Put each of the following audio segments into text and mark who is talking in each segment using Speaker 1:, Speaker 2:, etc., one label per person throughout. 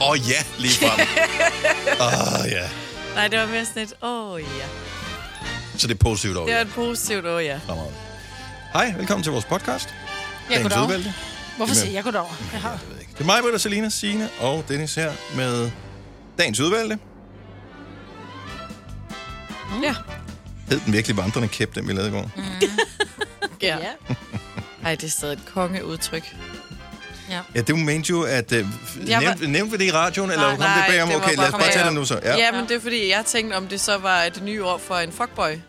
Speaker 1: Åh oh, ja, lige frem. Åh oh, ja.
Speaker 2: Nej, det var mere sådan et, åh oh, ja.
Speaker 1: Så det er positivt over.
Speaker 2: Det var
Speaker 1: Ja.
Speaker 2: et positivt, åh oh, ja.
Speaker 1: Fremad. Hej, velkommen til vores podcast.
Speaker 3: Jeg
Speaker 1: Dagens
Speaker 3: går
Speaker 1: udvalgte.
Speaker 3: derover.
Speaker 1: Jamen.
Speaker 3: Hvorfor siger jeg, jeg går derover? Jeg har.
Speaker 1: Jeg ved ikke. Det er mig, Britta, Selina, Signe og Dennis her med dagens udvalgte.
Speaker 2: Ja.
Speaker 1: Hed den virkelig vandrende kæp, den vi lavede i går?
Speaker 3: Mm.
Speaker 2: ja. Ej, det er stadig et kongeudtryk.
Speaker 1: Ja, det mente jo, at... Øh,
Speaker 2: Jeg
Speaker 1: nævnte, nævnte vi det i radioen, eller
Speaker 2: Nej,
Speaker 1: kom det
Speaker 2: nej,
Speaker 1: bag om?
Speaker 2: det var
Speaker 1: Okay, lad os
Speaker 2: bare
Speaker 1: bare tage
Speaker 2: bagom.
Speaker 1: det nu så.
Speaker 2: Ja.
Speaker 1: Ja,
Speaker 2: ja, men det er fordi, jeg tænkte, om det så var et nye ord for en fuckboy.
Speaker 1: en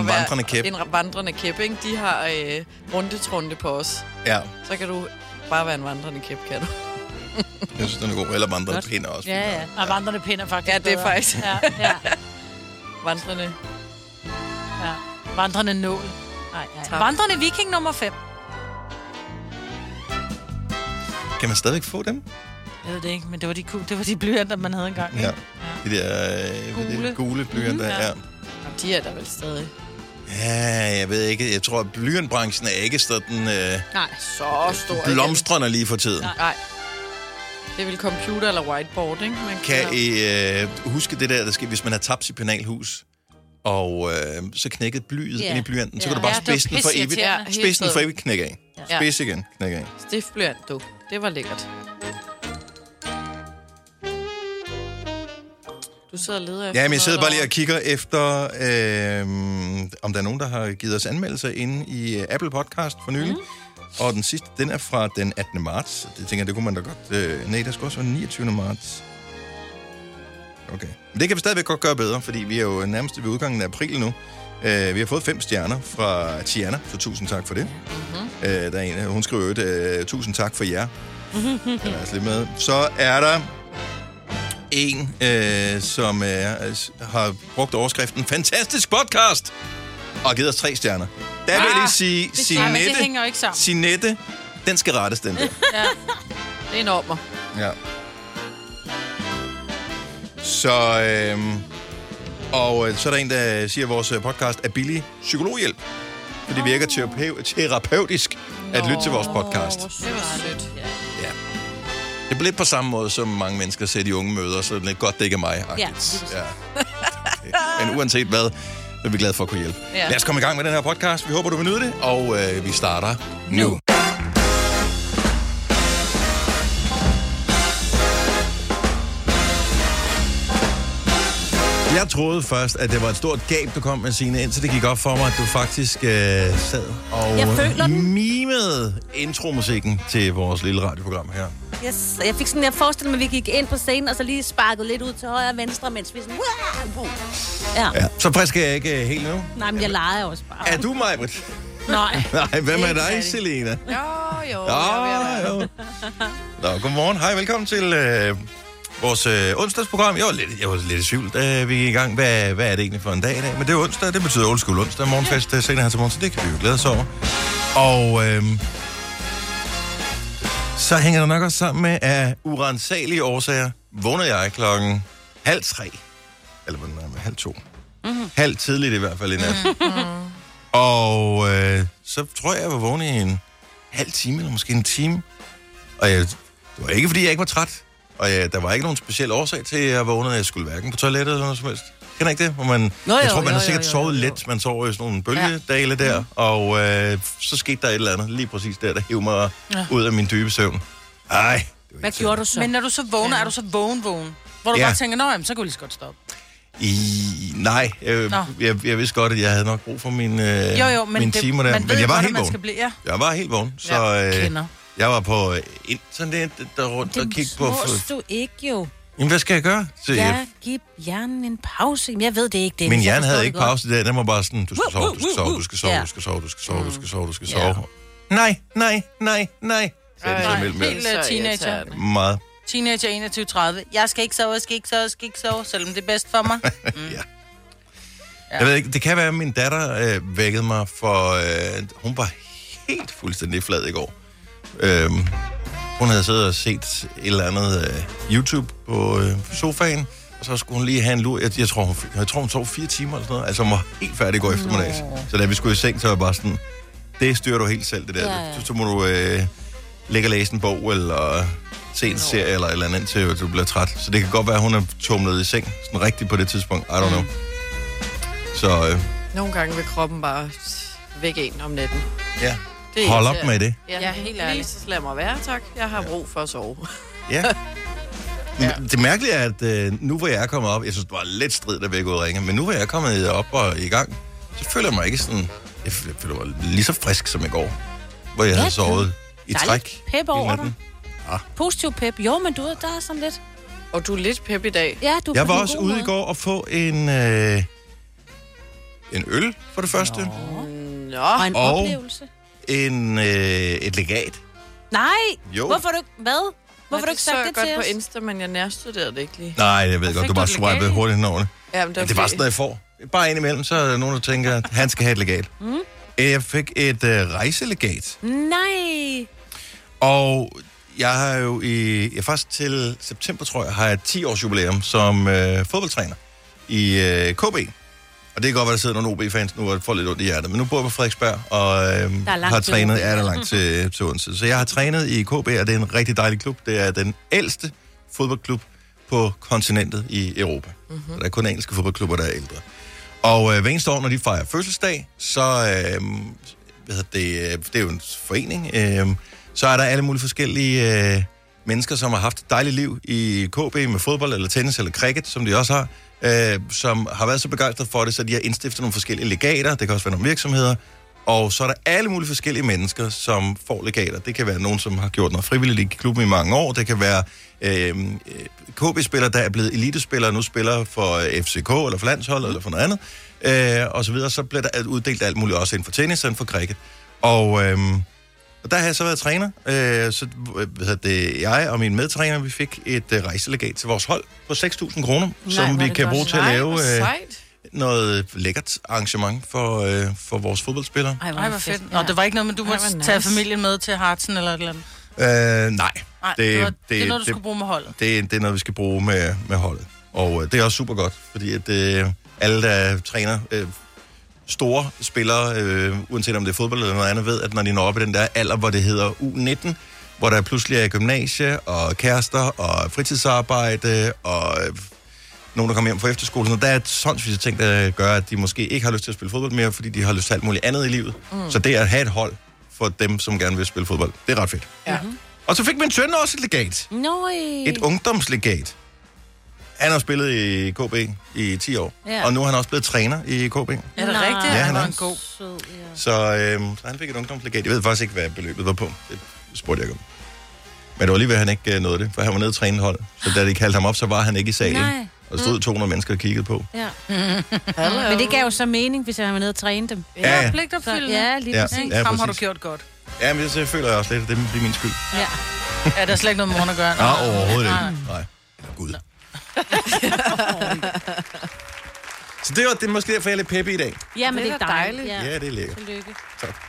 Speaker 2: At være-
Speaker 1: vandrende kæp.
Speaker 2: En vandrende kæp, ikke? De har øh, rundetrunde på os.
Speaker 1: Ja,
Speaker 2: Så kan du bare være en vandrende kæp, kan du?
Speaker 1: jeg synes, den er god. Eller vandrende pinder også.
Speaker 3: Ja, ja. Og vandrende pinder faktisk
Speaker 2: Ja, det er
Speaker 3: bedre.
Speaker 2: faktisk-
Speaker 3: Ja, ja,
Speaker 2: Vandrende.
Speaker 3: ja. Vandrende nål. Nej, nej.
Speaker 2: Tak.
Speaker 3: Vandrende viking nummer 5.
Speaker 1: Kan man stadigvæk få dem?
Speaker 3: Jeg ved det ikke, men det var de, ku- det var de blyanter, man havde engang.
Speaker 1: Ja.
Speaker 3: Ja.
Speaker 1: De der øh, gule, de der
Speaker 3: Gule.
Speaker 1: gule blyanter. Mm,
Speaker 2: Mhm.
Speaker 1: ja.
Speaker 2: Nå, De er der vel stadig.
Speaker 1: ja, jeg ved ikke. Jeg tror, at blyantbranchen er ikke sådan øh,
Speaker 3: Nej.
Speaker 2: Så stor.
Speaker 1: blomstrende lige for tiden.
Speaker 3: Nej.
Speaker 2: Nej. Det er vel computer eller whiteboard, ikke? Man
Speaker 1: Kan I øh, huske det der, der sker, hvis man har tabt sit penalhus, og øh, så knækkede blyet
Speaker 4: Ja.
Speaker 1: ind i blyanten, så
Speaker 4: Ja.
Speaker 1: kan du bare
Speaker 3: Ja, det var
Speaker 1: spidsen for evigt.
Speaker 2: Ja,
Speaker 3: pisseirriterende.
Speaker 2: helt
Speaker 1: Spidsen for
Speaker 2: fed.
Speaker 1: evigt knække af.
Speaker 2: Ja.
Speaker 1: Spids igen, knække af.
Speaker 2: Stiftblyant, du. Det var lækkert. Du sidder og leder efter
Speaker 1: Ja, men jeg sidder bare
Speaker 2: noget
Speaker 1: lige og kigger efter, øh, om der er nogen, der har givet os anmeldelser inde i øh, Apple Podcast for nylig. Og den sidste, den er fra den 18. marts. Det tænker jeg, det kunne man da godt... Øh, nej, der skulle også være den 29. marts. Okay. Men det kan vi stadigvæk godt gøre bedre, fordi vi er jo nærmest ved udgangen af april nu. Øh, vi har fået fem stjerner fra Tiana, så tusind tak for det. Mm-hmm. Øh, der er en, hun skriver jo, øh, tusind tak for jer. Den er altså lidt med. Så er der en, øh, som øh, s- har brugt overskriften Fantastisk podcast! Og har givet os tre stjerner. Der vil jeg lige sige,
Speaker 3: Ah, Det, ja, men det
Speaker 1: Sinette,
Speaker 3: hænger jo ikke sammen.
Speaker 1: Sinette, den skal rettes, den der.
Speaker 2: om. Det er en ommer.
Speaker 1: Ja. Så, øh, og øh, så er der en, der siger, at vores øh, podcast er billig psykologhjælp. For det
Speaker 3: Ah.
Speaker 1: virker terapeu- terapeutisk at lytte til vores podcast.
Speaker 2: Det var sødt. Ja.
Speaker 1: Ja. Det er lidt på samme måde, som mange mennesker ser de unge møder, så det er lidt godt, det ikke er mig.
Speaker 4: Ja, lige præcis.
Speaker 1: ja. Okay. Men uanset hvad, er vi glade for at kunne hjælpe. Ja.
Speaker 2: Ja.
Speaker 1: Lad os komme i gang med den her podcast. Vi håber, du vil nyde det, og øh, vi starter nu. nu. Jeg troede først, at det var et stort gab, du kom med, Signe, indtil det gik op for mig, at du faktisk øh, sad og
Speaker 4: Jeg føler den.
Speaker 1: mimede intromusikken til vores lille radioprogram her.
Speaker 4: Yes. Og Jeg fik sådan, jeg forestillede mig, at vi gik ind på scenen, og så lige sparkede lidt ud til højre og venstre, mens vi sådan... Wow! Ja.
Speaker 1: Ja. Så frisk er jeg ikke øh, helt nu.
Speaker 4: Nej, men jeg leger også bare.
Speaker 1: Er du mig, Britt?
Speaker 3: Nej.
Speaker 1: Nej, hvad med
Speaker 3: Ikke
Speaker 1: dig,
Speaker 3: særlig.
Speaker 1: Selina?
Speaker 2: Jo, jo.
Speaker 1: Nå,
Speaker 2: jeg er ved at være der.
Speaker 1: jo. Nå, godmorgen. Hej, velkommen til øh, vores øh, onsdagsprogram. Jeg var, lidt, jeg var lidt i tvivl, da vi gik i gang. Hvad, hvad er det egentlig for en dag i dag? Men det er onsdag, det betyder old school onsdag. Morgenfest øh, senere her til morgen, så det kan vi jo glæde os over. Og øh, så hænger det nok også sammen med, at urensagelige årsager vågnede jeg klokken halv tre. Eller hvad den er, halv to. Mm-hmm. Halv tidligt i hvert fald i nat. Mm-hmm. Og øh, så tror jeg, jeg var vågen i en halv time, eller måske en time. Og jeg, det var ikke, fordi jeg ikke var træt. Og jeg, der var ikke nogen speciel årsag til, at jeg vågnede. Jeg skulle hverken på toilettet eller noget som helst. Kender ikke det? Hvor man,
Speaker 2: Nå,
Speaker 1: jeg
Speaker 2: jo,
Speaker 1: tror, man
Speaker 2: jo,
Speaker 1: har
Speaker 2: jo,
Speaker 1: sikkert
Speaker 2: jo,
Speaker 1: sovet
Speaker 2: jo. Mm.
Speaker 1: lidt. Man sover i sådan nogle bølgedale der. Og øh, så skete der et eller andet lige præcis der, der hævde mig ja. ud af min dybe søvn. Ej. det var
Speaker 4: Hvad
Speaker 1: irriterende.
Speaker 4: gjorde du så?
Speaker 3: Men når du så vågner, er du så vågen-vågen? Hvor du
Speaker 1: Ja.
Speaker 3: ja. bare tænker, nå, jamen, så kan vi lige så godt stoppe.
Speaker 1: I, nej, øh,
Speaker 3: Nå.
Speaker 1: jeg, jeg vidste godt, at jeg havde nok brug for min, øh,
Speaker 3: Jo, jo, men
Speaker 1: mine
Speaker 3: det,
Speaker 1: timer der.
Speaker 3: man
Speaker 1: Men
Speaker 3: ved
Speaker 1: jeg var
Speaker 3: godt,
Speaker 1: helt
Speaker 3: at man
Speaker 1: vågen.
Speaker 3: skal blive... Ja.
Speaker 1: Jeg var helt vågen, så
Speaker 3: Ja,
Speaker 1: øh,
Speaker 3: kender.
Speaker 1: jeg var på øh, internet der rundt og kiggede på...
Speaker 4: Det du ikke jo.
Speaker 1: Jamen, hvad skal jeg gøre? Så, jeg,
Speaker 4: Ja, giv hjernen en pause. Men jeg ved det ikke, det.
Speaker 1: min hjerne havde ikke pause i dag. Den var bare sådan, du skal sove, du skal sove, du skal sove,
Speaker 4: Ja.
Speaker 1: du skal sove, du skal sove, du
Speaker 3: Mm.
Speaker 1: skal sove, du skal sove. Nej, nej, nej, nej. Så er det så
Speaker 3: Nej,
Speaker 1: mellem
Speaker 3: helt
Speaker 2: Så
Speaker 3: øh, teenager.
Speaker 2: irriterende.
Speaker 1: meget.
Speaker 3: Teenager 21-30. Jeg skal ikke sove, jeg skal ikke sove, jeg skal ikke sove, selvom det er bedst for mig.
Speaker 1: Ja. Jeg ved ikke, det kan være, at min datter øh, vækkede mig, for øh, hun var helt fuldstændig flad i går. Øh, hun havde siddet og set et eller andet øh, YouTube på øh, sofaen, og så skulle hun lige have en lur. Jeg, jeg, tror, hun, jeg tror, hun sov fire timer eller sådan noget. Altså, hun var helt færdig i går eftermiddags. Så da vi skulle i seng, så var jeg bare sådan, det styrer du helt selv, det der.
Speaker 4: Ja, ja.
Speaker 1: Så, så må du... Øh, ligge og læse en bog, eller se en serie, eller et eller andet, indtil du bliver træt. Så det kan godt være, at hun er tumlet i seng, sådan rigtigt på det tidspunkt. I don't
Speaker 3: Mm.
Speaker 1: know. Så øh,
Speaker 3: Nogle gange vil kroppen bare vække en om natten.
Speaker 1: ja,
Speaker 3: Det er
Speaker 1: hold op
Speaker 3: irriterende.
Speaker 1: med det.
Speaker 3: Ja, ja helt ærligt. Så lad mig være, tak. Jeg har brug for at sove.
Speaker 1: Ja. ja. Det mærkelige er, at øh, nu hvor jeg er kommet op, jeg synes, det var lidt strid, da vi ikke ud ringe, men nu hvor jeg er kommet op og i gang, så føler jeg mig ikke sådan, jeg føler jeg føler mig lige så frisk som i går, hvor jeg
Speaker 4: Ja,
Speaker 1: havde
Speaker 4: det-
Speaker 1: sovet i
Speaker 4: der er
Speaker 1: træk.
Speaker 4: lidt pep
Speaker 1: hele
Speaker 4: over
Speaker 1: natten.
Speaker 4: dig. Positiv pep. Jo, men du ved, der er sådan lidt...
Speaker 3: Og du er lidt pep i dag.
Speaker 4: Ja, du er
Speaker 1: Jeg
Speaker 4: på
Speaker 1: var
Speaker 4: den
Speaker 1: også
Speaker 4: gode
Speaker 1: ude
Speaker 4: måde.
Speaker 1: i går og få en, øh, en øl for det første,
Speaker 3: Nå,
Speaker 4: Og en
Speaker 1: Og-
Speaker 4: oplevelse.
Speaker 1: en, øh, et legat.
Speaker 4: Nej!
Speaker 1: Jo.
Speaker 4: Hvorfor har du ikke... Hvad? Hvorfor har du ikke sagt det
Speaker 3: godt
Speaker 4: til
Speaker 3: på
Speaker 4: os?
Speaker 3: Insta, men jeg nærstuderede det ikke lige.
Speaker 1: Nej, jeg ved
Speaker 3: Og
Speaker 1: godt,
Speaker 3: fik
Speaker 1: du
Speaker 3: du
Speaker 1: bare
Speaker 3: et legat?
Speaker 1: swipede hurtigt hen over det.
Speaker 3: Ja, men det
Speaker 1: Men det var sådan noget, jeg får. Bare indimellem, så er der nogen, der tænker, at han skal have et legat. Mm. Jeg fik et øh, rejselegat.
Speaker 4: Nej!
Speaker 1: Og jeg har jo i, ja, faktisk til september, tror jeg, har jeg 10 års jubilæum som øh, fodboldtræner i øh, KB. Og det kan godt være, der sidder nogle OB-fans nu og får lidt ondt i hjertet, men nu bor jeg på Frederiksberg og øh,
Speaker 4: Der er langt
Speaker 1: har
Speaker 4: til
Speaker 1: trænet,
Speaker 4: OB.
Speaker 1: ja, der er langt til, til Odense. Så jeg har trænet i KB, og det er en rigtig dejlig klub. Det er den ældste fodboldklub på kontinentet i Europa.
Speaker 4: Mhm.
Speaker 1: Mm-hmm. Der er kun engelske fodboldklubber, der er ældre. Og øh, hver eneste år, når de fejrer fødselsdag, så øh, hvad hedder det, øh, det er jo en forening, øh, så er der alle mulige forskellige øh, mennesker, som har haft et dejligt liv i KB med fodbold eller tennis eller cricket, som de også har, øh, som har været så begejstret for det, så de har indstiftet nogle forskellige legater, det kan også være nogle virksomheder, og så er der alle mulige forskellige mennesker, som får legater. Det kan være nogen, som har gjort noget frivilligt i klubben i mange år. Det kan være øh, KB-spillere, der er blevet elitespillere, nu spiller for øh, FCK eller for landsholdet eller for noget andet. Øh, og så videre. Så bliver der uddelt alt muligt også inden for tennis og inden for cricket. Og, øh, og der har jeg så været træner. Øh, så øh, hvad hedder det, jeg og min medtræner, vi fik et øh, rejselegat til vores hold på 6.000 kroner, som
Speaker 4: hvor
Speaker 1: vi
Speaker 4: er det
Speaker 1: kan
Speaker 4: godt.
Speaker 1: bruge til at
Speaker 3: Nej,
Speaker 1: lave
Speaker 3: hvor
Speaker 1: øh,
Speaker 3: sejt.
Speaker 1: noget lækkert arrangement for, øh, for vores fodboldspillere.
Speaker 4: Ej,
Speaker 5: Ej, hvor fedt. Nå, det var ikke noget, men du måtte
Speaker 3: hvor nice.
Speaker 5: tage familien med til Hartsen eller et eller andet.
Speaker 1: Øh, nej.
Speaker 5: Nej, det, det, var, det, det er noget, du skulle bruge med holdet.
Speaker 1: det, er- det er noget, vi skal bruge med, med holdet. Og øh, det er også super godt, fordi at, øh, alle, der træner øh, store spillere, øh, uanset om det er fodbold eller noget andet, ved, at når de når op i den der alder, hvor det hedder U19, hvor der pludselig er gymnasie og kærester og fritidsarbejde og øh, nogen, der kommer hjem fra efterskole. Sådan noget. Der er et sindssygt ting, der gør, at de måske ikke har lyst til at spille fodbold mere, fordi de har lyst til alt muligt andet i livet. Mm. Så det at have et hold for dem, som gerne vil spille fodbold, det er ret fedt.
Speaker 3: Ja.
Speaker 1: Og så fik min søn også et legat.
Speaker 4: Nøj.
Speaker 1: Et ungdomslegat. Han har spillet i KB i 10 år,
Speaker 4: Ja.
Speaker 1: og nu er han også blevet træner i KB.
Speaker 3: Er det
Speaker 4: Nej.
Speaker 3: rigtigt?
Speaker 1: Ja,
Speaker 3: Ja,
Speaker 1: han
Speaker 3: han
Speaker 1: er.
Speaker 3: var en god.
Speaker 4: Sød, ja.
Speaker 1: Så, øh, så han fik et ungdomslegat. Jeg ved faktisk ikke, hvad beløbet var på. Det spurgte jeg ikke om. Men det var lige ved, at han ikke øh, nåede det, for han var nede i trænehold. Så da de kaldte ham op, så var han ikke i salen.
Speaker 4: Nej. Mm.
Speaker 1: Og stod 200 mennesker og kiggede på.
Speaker 4: Ja. Men det gav jo så mening, hvis jeg var nede og træne dem.
Speaker 1: Ja, ja.
Speaker 3: Ja, pligtopfyldende.
Speaker 4: Ja, lige
Speaker 1: Ja.
Speaker 4: ja. præcis.
Speaker 1: Ja,
Speaker 3: Ham har du
Speaker 1: præcis.
Speaker 3: gjort godt.
Speaker 1: Ja, men det så føler jeg også lidt, at det er min skyld.
Speaker 4: Ja.
Speaker 3: Ja, der er slet ikke noget med moren at gøre.
Speaker 1: Nej, overhovedet
Speaker 3: Nej.
Speaker 1: ikke. Nej. Eller Gud. så det var det er måske derfor, jeg er lidt peppe i dag.
Speaker 4: ja, men det,
Speaker 3: er
Speaker 4: er
Speaker 3: da
Speaker 4: dejligt.
Speaker 3: dejligt.
Speaker 1: Ja, det er lækkert.
Speaker 4: Tillykke.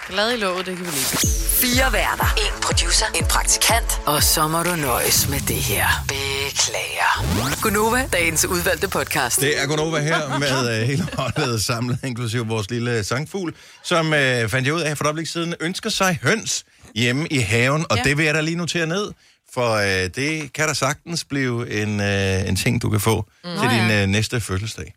Speaker 3: Glad i låget, det kan vi lide.
Speaker 6: Fire værter. En producer. En praktikant. Og så må du nøjes med det her. Beklager. Gunova, dagens udvalgte podcast.
Speaker 1: Det er Gunova her med øh, hele holdet samlet, inklusive vores lille sangfugl, som øh, fandt jeg ud af for et øjeblik siden, ønsker sig høns hjemme i haven, og ja. det vil jeg da lige notere ned, for øh, det kan da sagtens blive en, øh, en ting, du kan få mm. til din øh, næste fødselsdag.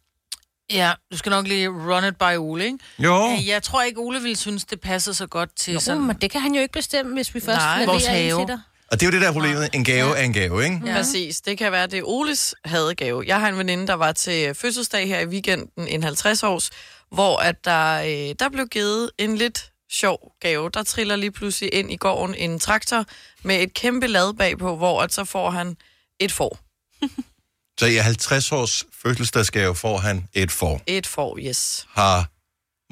Speaker 3: Ja, du skal nok lige run it by Ole, ikke?
Speaker 1: Jo,
Speaker 3: Oh. Jeg tror ikke, Ole ville synes, det passede så godt til jo,
Speaker 4: Sådan.
Speaker 3: sådan...
Speaker 4: men det kan han jo ikke bestemme, hvis vi først
Speaker 3: Nej,
Speaker 4: Nej,
Speaker 3: vores
Speaker 4: leverer en
Speaker 3: have.
Speaker 4: til dig.
Speaker 1: og det er jo det der problemet, en gave er en gave, ikke?
Speaker 2: Ja. Præcis. Det kan være, det er Oles hadegave. Jeg har en veninde, der var til fødselsdag her i weekenden, en 50-års, hvor at der, øh, der blev givet en lidt sjov gave. Der triller lige pludselig ind i gården en traktor med et kæmpe lad bagpå, hvor at så får han et får.
Speaker 1: Så i 50 års fødselsdagsgave får han et får.
Speaker 2: Et får, yes.
Speaker 1: Har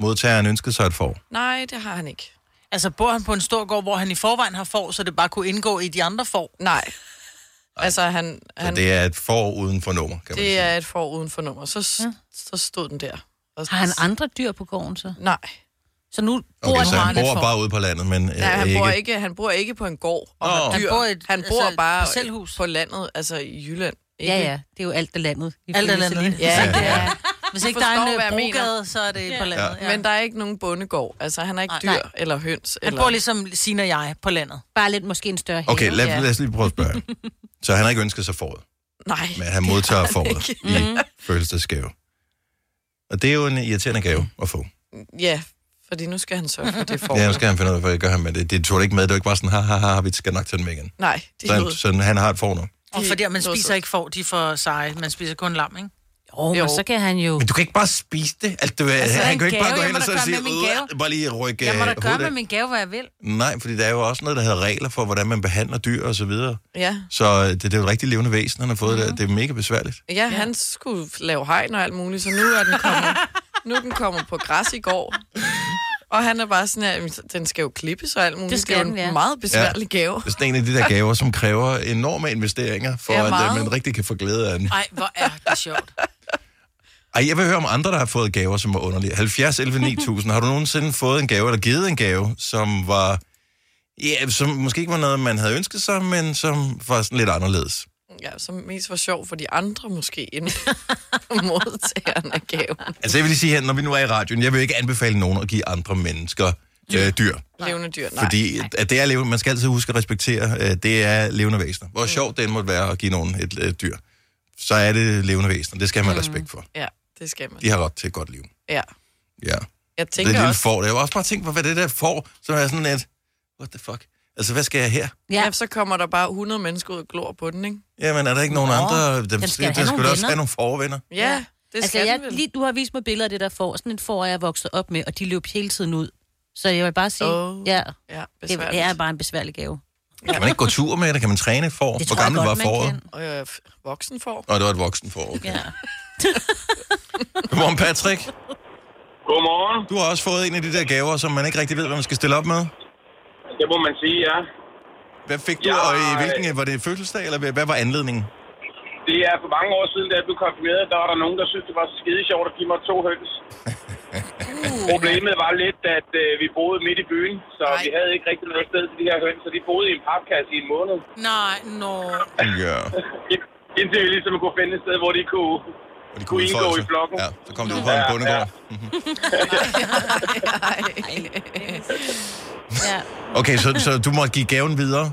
Speaker 1: modtageren ønsket sig et får?
Speaker 2: Nej, det har han ikke.
Speaker 3: Altså, bor han på en stor gård, hvor han i forvejen har får, så det bare kunne indgå i de andre får?
Speaker 2: Nej. Altså, han, han,
Speaker 1: Så det er et får uden for nummer, kan man
Speaker 2: det
Speaker 1: sige.
Speaker 2: er et får uden for nummer. Så, s- så stod den der. Og,
Speaker 4: Har han andre dyr på gården så?
Speaker 2: Nej.
Speaker 4: Så nu bor
Speaker 1: Okay,
Speaker 4: okay,
Speaker 1: så han
Speaker 4: han
Speaker 1: bor bare ude på landet, men øh,
Speaker 2: Nej, han
Speaker 1: ikke...
Speaker 2: bor ikke, han bor ikke på en gård og
Speaker 1: Nå.
Speaker 2: har
Speaker 1: Han
Speaker 2: dyr.
Speaker 3: bor i et-
Speaker 2: han bor
Speaker 3: altså,
Speaker 2: bare
Speaker 3: parcelhus.
Speaker 2: på landet, altså i Jylland. Ikke?
Speaker 4: Ja, ja, det er jo alt det landet.
Speaker 3: Alt er landet.
Speaker 2: Ja,
Speaker 1: Ja.
Speaker 2: ja.
Speaker 3: Hvis ikke der
Speaker 2: forstår,
Speaker 3: er en
Speaker 2: hvad jeg
Speaker 3: øh,
Speaker 2: mener.
Speaker 3: brogade, så er det på landet.
Speaker 2: Men der er ikke nogen bondegård. Altså, han er ikke dyr
Speaker 3: Nej.
Speaker 2: eller høns.
Speaker 3: Han
Speaker 2: eller...
Speaker 3: bor ligesom Sina og jeg på landet.
Speaker 4: Bare lidt måske en større have.
Speaker 1: Okay, lad,
Speaker 2: Ja.
Speaker 1: lad os lige prøve at spørge. Så han har ikke ønsket sig foråret,
Speaker 2: Nej.
Speaker 1: men han modtager foråret i fødselsdagsgave. Og det er jo en irriterende gave at få.
Speaker 2: Ja, fordi nu skal han sørge for det for.
Speaker 1: Ja, nu skal han finde ud af, hvad jeg gør ham med det. Det tog det ikke med. Det var ikke bare sådan, ha, ha, ha, vi skal nok tage den med igen.
Speaker 2: Nej,
Speaker 1: Så
Speaker 2: det er
Speaker 1: han,
Speaker 2: noget.
Speaker 1: så han har et for nu.
Speaker 3: Og
Speaker 2: Det-
Speaker 3: fordi at man
Speaker 2: Nå,
Speaker 3: spiser
Speaker 2: så-
Speaker 3: ikke får, de er for seje. Man spiser kun lam, ikke?
Speaker 4: Jo, men
Speaker 2: Jo.
Speaker 4: så kan han jo...
Speaker 1: Men du kan ikke bare spise det. Altså, du, altså,
Speaker 4: er
Speaker 1: han
Speaker 4: en
Speaker 1: kan jo ikke bare
Speaker 4: gave,
Speaker 1: gå
Speaker 4: jeg
Speaker 1: hen
Speaker 4: må
Speaker 1: og
Speaker 4: da
Speaker 1: så
Speaker 4: gøre
Speaker 1: sige,
Speaker 4: med min gave.
Speaker 1: "Øh, bare lige rykke
Speaker 3: Jeg må da
Speaker 1: øh,
Speaker 3: gøre
Speaker 1: hovedet
Speaker 3: med
Speaker 1: af."
Speaker 3: min gave, hvad jeg vil.
Speaker 1: Nej, fordi der er jo også noget, der hedder regler for, hvordan man behandler dyr og så videre.
Speaker 2: Ja.
Speaker 1: Så øh, det, det er jo et rigtig levende væsen, han har fået mm-hmm. det. Det er mega besværligt.
Speaker 2: Ja, ja, han skulle lave hegn og alt muligt, så nu er den kommet, nu er den kommet på græs i går. Og han er bare sådan, at "Jamen, den skal jo klippes og alt muligt.
Speaker 4: Det skal
Speaker 2: det er jo
Speaker 4: den,
Speaker 2: en
Speaker 4: ja.
Speaker 2: meget besværlig ja. gave.
Speaker 1: Det er sådan en af de der gaver, som kræver enorme investeringer, for
Speaker 2: Ja,
Speaker 1: ja, at øh,
Speaker 2: meget.
Speaker 1: man rigtig kan få glæde af den.
Speaker 3: Nej, hvor er det sjovt.
Speaker 1: Ej, jeg vil høre om andre, der har fået gaver, som var underlige. 70, 11, 9000. Har du nogensinde fået en gave, eller givet en gave, som var... Ja, som måske ikke var noget, man havde ønsket sig, men som var sådan lidt anderledes.
Speaker 2: Ja, som mest var sjov for de andre måske, end modtageren af gaven.
Speaker 1: Altså, jeg vil lige sige her, når vi nu er i radioen, jeg vil ikke anbefale nogen at give andre mennesker øh, dyr.
Speaker 2: Levende dyr, Mm. nej.
Speaker 1: Fordi at det er levende, man skal altid huske at respektere, øh, det er levende væsener.
Speaker 2: Mm.
Speaker 1: Hvor sjovt det end måtte være at give nogen et øh, dyr, så er det levende væsener. Det skal
Speaker 2: Mm.
Speaker 1: man have respekt for.
Speaker 2: Ja, det skal man.
Speaker 1: De har ret til et godt liv.
Speaker 2: Ja.
Speaker 1: Ja.
Speaker 2: Jeg
Speaker 1: Det er et
Speaker 2: tænker
Speaker 1: lille
Speaker 2: også,
Speaker 1: får. Jeg har også bare tænkt på, hvad det der får, som er sådan et, what the fuck? Altså, hvad skal jeg her?
Speaker 2: ja, så kommer der bare 100 mennesker ud og glor på den, ikke?
Speaker 1: Jamen, er der ikke nogen andre? Dem,
Speaker 4: den skal
Speaker 1: den
Speaker 4: have nogle
Speaker 1: skulle da også
Speaker 4: venner.
Speaker 1: have nogle forvenner.
Speaker 2: Ja, ja. det
Speaker 4: Altså,
Speaker 2: skal
Speaker 4: jeg,
Speaker 2: den vel.
Speaker 4: lige, du har vist mig billeder af det der får. Sådan et får er jeg vokset op med, og de løb hele tiden ud. Så jeg vil bare sige,
Speaker 2: Åh,
Speaker 4: ja,
Speaker 2: Ja,
Speaker 4: det
Speaker 2: besværligt.
Speaker 4: er bare en besværlig gave.
Speaker 1: Kan man ikke gå tur med det? Kan man træne et får?
Speaker 4: Det
Speaker 1: Hvor
Speaker 4: tror jeg
Speaker 1: gammel
Speaker 4: godt,
Speaker 1: var
Speaker 4: man
Speaker 1: fåret?
Speaker 4: kan.
Speaker 2: Og øh, f- voksen får.
Speaker 1: Og det var et voksen får, okay.
Speaker 4: Ja.
Speaker 1: Godmorgen, Patrick.
Speaker 7: Godmorgen.
Speaker 1: Du har også fået en af de der gaver, som man ikke rigtig ved, hvad man skal stille op med.
Speaker 7: Det må man sige, ja.
Speaker 1: Hvad fik du,
Speaker 7: Jeg-
Speaker 1: og i hvilken, var det fødselsdag, eller hvad hvad var anledningen?
Speaker 7: Det er for mange år siden, da jeg blev konfirmeret, der var der nogen, der syntes, det var skide sjovt at give mig to høns. Problemet var lidt, at øh, vi boede midt i byen, så
Speaker 2: Nej.
Speaker 7: Nej. vi havde ikke rigtig noget sted til de her høns, så de boede i en papkasse i en måned.
Speaker 3: Nej, nå.
Speaker 1: Ja,
Speaker 7: Ind- Indtil vi ligesom kunne finde et sted, hvor de kunne...
Speaker 1: og de
Speaker 7: Kunne indgå
Speaker 1: udfolde
Speaker 7: i
Speaker 1: sig.
Speaker 7: flokken.
Speaker 1: Ja, så kom de ud på en
Speaker 7: Ja,
Speaker 1: bondegård.
Speaker 4: ja.
Speaker 1: Okay, så, så du måtte give gaven videre.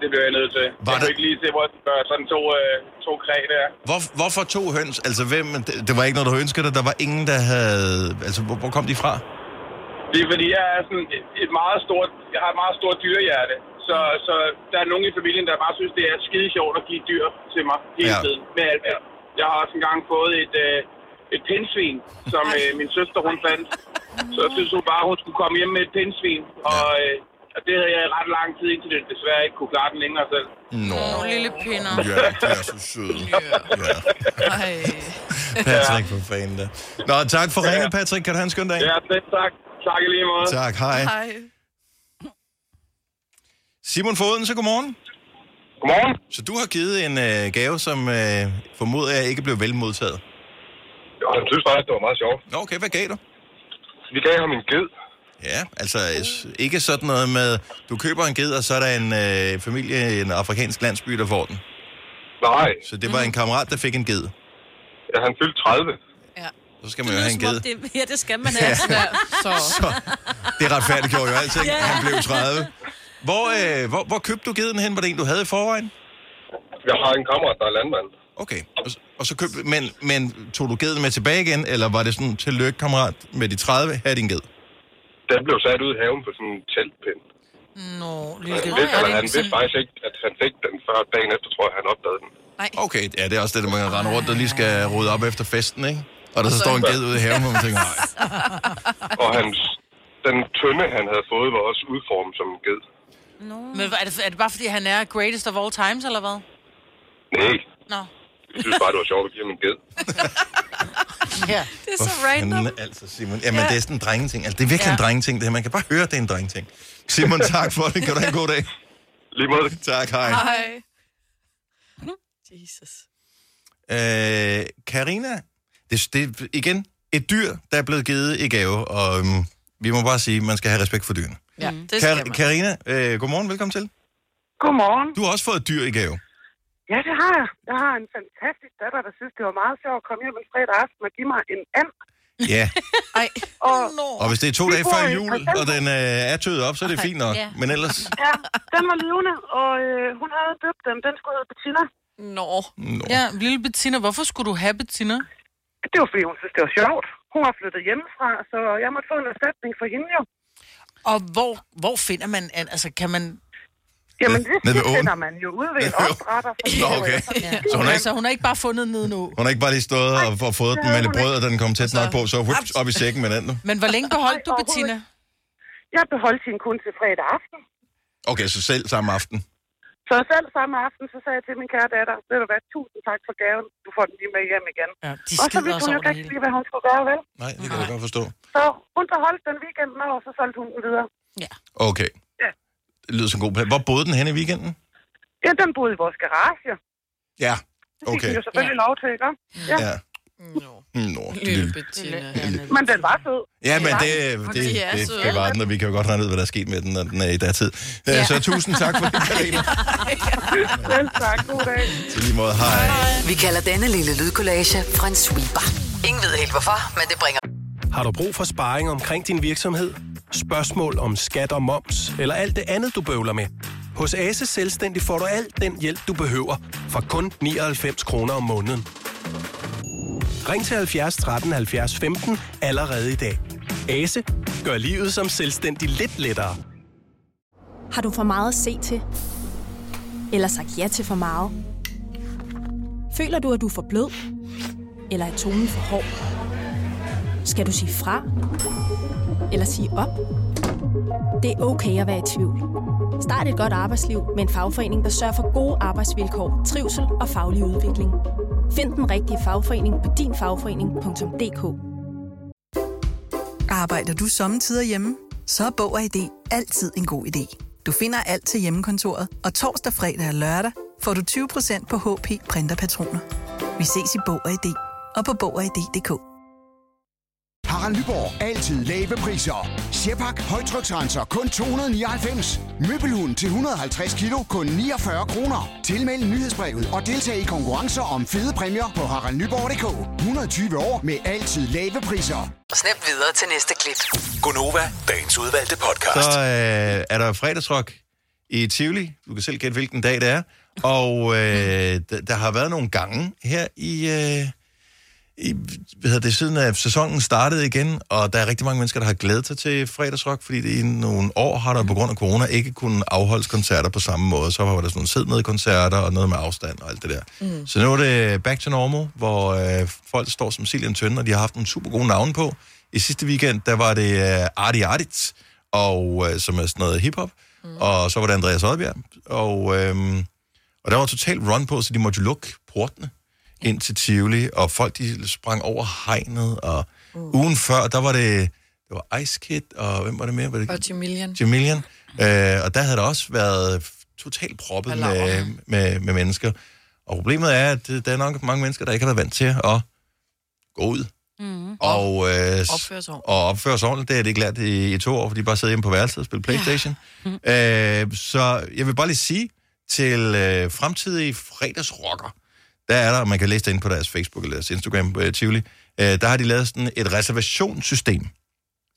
Speaker 7: Det blev jeg nødt til.
Speaker 1: Var
Speaker 7: Var jeg
Speaker 1: der-
Speaker 7: kunne ikke lige se, hvor jeg skulle gøre sådan to, øh, to kræ der.
Speaker 1: Hvor, hvorfor to høns? Altså, hvem, det, det var ikke noget, du ønskede dig. Der var ingen, der havde... Altså, hvor, hvor kom de fra?
Speaker 7: Det er fordi, jeg er sådan et, et meget stort, jeg har et meget stort dyrehjerte. Så, så der er nogen i familien, der bare synes, det er skide sjovt at give dyr til mig hele
Speaker 1: Ja.
Speaker 7: ja. tiden. Med alt. hvad- Jeg har også engang fået et, øh, et pindsvin, som øh, min søster hun fandt. Så jeg synes hun bare, hun skulle komme hjem med et pindsvin. Og, øh, og det havde jeg i ret lang tid indtil det desværre ikke kunne klare den længere selv.
Speaker 1: Nå,
Speaker 3: Lille pinder.
Speaker 1: ja, de er så søde. Ja.
Speaker 2: Ej.
Speaker 1: Patrick, for fanden da. Nå, tak for ringet, Patrick. Kan du have en skøn dag?
Speaker 7: Ja, selv tak. Tak i lige måde.
Speaker 1: Tak, hej.
Speaker 2: Hej.
Speaker 1: Simon Foden, så godmorgen.
Speaker 7: Godmorgen.
Speaker 1: Så du har givet en øh, gave, som øh, formoder jeg ikke blev vel modtaget.
Speaker 7: Jo, jeg synes faktisk, det var meget sjovt.
Speaker 1: Nå, okay, hvad gav du?
Speaker 7: Vi gav ham en ged.
Speaker 1: Ja, altså s- ikke sådan noget med, du køber en ged, og så er der en øh, familie i en afrikansk landsby, der får den.
Speaker 7: Nej,
Speaker 1: Så det var en kammerat, der fik en ged.
Speaker 7: han fyldte 30.
Speaker 1: Så skal man jo have en
Speaker 4: Som om
Speaker 1: ged.
Speaker 4: det, ja, det skal man altså.
Speaker 2: Ja, så.
Speaker 1: Det retfærdiggjorde jo alting. Han blev 30. Hvor, øh, hvor, hvor købte du geden hen? Var det en, du havde i forvejen?
Speaker 7: Jeg har en kammerat, der er landmand.
Speaker 1: Okay. Og, s- og så købte, men, men tog du geden med tilbage igen, eller var det sådan, tillykke kammerat med de 30, her er din ged?
Speaker 7: Den blev sat ud i haven på sådan en teltpind.
Speaker 3: Nå, lille
Speaker 7: Han
Speaker 3: ged.
Speaker 7: vidste, eller
Speaker 3: Er det
Speaker 7: han
Speaker 3: ikke
Speaker 7: vidste
Speaker 3: sådan-
Speaker 7: faktisk ikke, at han fik den før dagen efter, tror jeg, han opdagede den.
Speaker 1: Okay, ja, det er også det, der man render rundt og lige skal rydde op efter festen, ikke? Og der så står en ged ude i haven, hvor man tænker, nej.
Speaker 7: Og hans, den tønde, han havde fået, var også udformet som en ged.
Speaker 3: Men er det, er det bare, fordi han er greatest of all times, eller hvad?
Speaker 7: Nej,
Speaker 3: Nå.
Speaker 7: jeg synes bare, det var sjovt at give ham en ged.
Speaker 3: Ja.
Speaker 2: Det er
Speaker 1: Hvor
Speaker 2: så random.
Speaker 1: fanden, altså, Simon. Jamen, ja. det er sådan en drengeting. Altså, det er virkelig ja. en drengeting, det her. Man kan bare høre, det er en drengeting. Simon, tak for det. Kan du have en god dag?
Speaker 7: Lige måde.
Speaker 1: Tak, hej.
Speaker 2: Hej. Jesus.
Speaker 1: Øh, Karina, det, det er igen et dyr, der er blevet givet i gave, og øhm, vi må bare sige, man skal have respekt for dyrene.
Speaker 2: Ja, Mm. det skal
Speaker 1: Kar-
Speaker 2: man.
Speaker 1: Karina, øh, godmorgen, velkommen til.
Speaker 8: Godmorgen.
Speaker 1: Du har også fået et dyr i gave.
Speaker 8: Ja, det har jeg. Jeg har en fantastisk datter, der synes, det var meget sjovt at komme hjem en fredag aften og give mig en and.
Speaker 1: Ja,
Speaker 2: Ej,
Speaker 8: Og
Speaker 1: og hvis det er to
Speaker 8: Vi
Speaker 1: dage
Speaker 8: bor
Speaker 1: før
Speaker 8: i
Speaker 1: jul,
Speaker 8: Christiansborg.
Speaker 1: og den øh, er tøet op, så er det fint nok.
Speaker 4: ja.
Speaker 1: Men ellers...
Speaker 8: ja, den var levende, og øh, hun havde døbt den. Den skulle hedde Bettina.
Speaker 2: nå.
Speaker 1: Nå.
Speaker 3: Ja, lille Bettina, hvorfor skulle du have Bettina?
Speaker 8: Det var, fordi hun synes, det var sjovt. Hun var flyttet hjemmefra, så jeg måtte få en erstatning for hende jo.
Speaker 3: Og hvor, hvor finder man, an- altså kan man...
Speaker 8: Jamen,
Speaker 1: Ned-
Speaker 8: det
Speaker 1: ned ved åen?
Speaker 8: finder man jo ude ved en
Speaker 1: Ned ved åen?
Speaker 8: opdrætter. fordi
Speaker 1: Nå,
Speaker 8: det var
Speaker 1: okay.
Speaker 8: jo sådan-
Speaker 3: Ja.
Speaker 1: Så hun er ikke-
Speaker 3: altså, hun har ikke bare fundet nedenunder.
Speaker 1: Hun har ikke bare lige stået og, og fået den
Speaker 8: havde
Speaker 1: med lidt
Speaker 8: hun
Speaker 1: brød, og den kom tæt nok på, så whip, op i sækken med den nu.
Speaker 3: Men hvor længe beholdt du
Speaker 8: Nej, overhovedet
Speaker 3: Bettina?
Speaker 8: Jeg beholdt hende kun til fredag aften.
Speaker 1: Okay, så selv samme aften.
Speaker 8: Så selv samme aften, så sagde jeg til min kære datter, ved du hvad, tusind tak for gaven, du får den lige med hjem igen.
Speaker 3: Ja, de
Speaker 8: Og så
Speaker 3: skider
Speaker 8: vidste
Speaker 3: også
Speaker 8: hun jo
Speaker 3: over det
Speaker 8: ikke
Speaker 3: hele.
Speaker 8: lige, hvad hun skulle gøre, vel?
Speaker 1: Nej, det kan jeg godt forstå.
Speaker 8: Så hun beholdt den weekenden over, og så solgte hun den videre.
Speaker 1: Okay.
Speaker 8: Ja.
Speaker 1: Det lyder som en god plan. Hvor boede den henne i weekenden?
Speaker 8: Ja, den boede i vores garage.
Speaker 1: Ja.
Speaker 8: Det fik
Speaker 1: Okay.
Speaker 8: den jo selvfølgelig lov til, ikke?
Speaker 1: Ja.
Speaker 2: Nå,
Speaker 1: Nå,
Speaker 2: lille
Speaker 1: lille.
Speaker 2: Bettina.
Speaker 8: Men den var sød.
Speaker 1: Ja, men det,
Speaker 2: Og
Speaker 1: det,
Speaker 2: de er
Speaker 1: det,
Speaker 2: søde.
Speaker 1: det, var den, og vi kan jo godt regne ud, hvad der er sket med den, når den er i datid. Ja. Så tusind tak for det, Karina.
Speaker 8: Selv tak. God dag.
Speaker 1: Til lige måde, hej.
Speaker 6: Vi kalder denne lille lydkollage Frans sweeper. Ingen ved helt hvorfor, men det bringer
Speaker 9: Har du brug for sparring omkring din virksomhed? Spørgsmål om skat og moms, eller alt det andet, du bøvler med? Hos Ase Selvstændig får du alt den hjælp, du behøver, for kun 99 kroner om måneden. Ring til 70 13 70 15 allerede i dag. Ase gør livet som selvstændig lidt lettere.
Speaker 10: Har du for meget at se til? Eller sagt ja til for meget? Føler du, at du er for blød? Eller er tonen for hård? Skal du sige fra? Eller sige op? Det er okay at være i tvivl. Start et godt arbejdsliv med en fagforening, der sørger for gode arbejdsvilkår, trivsel og faglig udvikling. Find den rigtige fagforening på dinfagforening.dk.
Speaker 11: Arbejder du sommetider hjemme? Så er Bog og ID altid en god idé. Du finder alt til hjemmekontoret, og torsdag, fredag og lørdag får du 20% på HP Printerpatroner. Vi ses i Bog og ID og på Bog og ID.dk.
Speaker 12: Harald Nyborg. Altid lave priser. Sjehpak. Højtryksrenser. Kun 299. Møbelhund til 150 kilo. Kun 49 kroner. Tilmeld nyhedsbrevet og deltag i konkurrencer om fede præmier på haraldnyborg.dk. 120 år med altid lave priser.
Speaker 6: snap videre til næste klip.
Speaker 9: Gonova, dagens udvalgte
Speaker 1: Så
Speaker 9: podcast.
Speaker 1: øh, er der fredagsrock i Tivoli. Du kan selv gætte, hvilken dag det er. Og øh, d- der har været nogle gange her i, øh, i hvad hedder det, siden at sæsonen startede igen, og der er rigtig mange mennesker, der har glædet sig til fredagsrock, fordi det i nogle år har der på grund af corona ikke kunnet afholdes koncerter på samme måde. Så var der sådan nogle sid ned koncerter og noget med afstand og alt det der. Mm. Så nu er det back to normal, hvor øh, folk står som Siljan Tønde, og de har haft nogle super gode navne på. I sidste weekend, der var det øh, Arti Artit, og, øh, som er sådan noget hiphop, mm. og så var det Andreas Oddbjerg, og... Øh, og der var totalt run på, så de måtte jo lukke portene ind til Tivoli, og folk de sprang over hegnet, og uh. ugen før, der var det, det var Ice Kid, og hvem var det mere? Var det
Speaker 2: Og Jamilian.
Speaker 1: Jamilian? Øh, og der havde der også været f- totalt proppet med,
Speaker 2: Alarm.
Speaker 1: med, med mennesker. Og problemet er, at øh, der er nok mange mennesker, der ikke har været vant til at gå ud. Mm. Og, øh, s-
Speaker 2: Opføre sig ordentligt.
Speaker 1: og opføre sig ordentligt. Det har de ikke lært i, i to år, fordi de bare sidder hjemme på værelset og spiller Playstation. Ja. Øh, så jeg vil bare lige sige til øh, fremtidige fredagsrocker, der er der, og man kan læse det inde på deres Facebook eller deres Instagram, øh, Tivoli, øh, der har de lavet sådan et reservationssystem,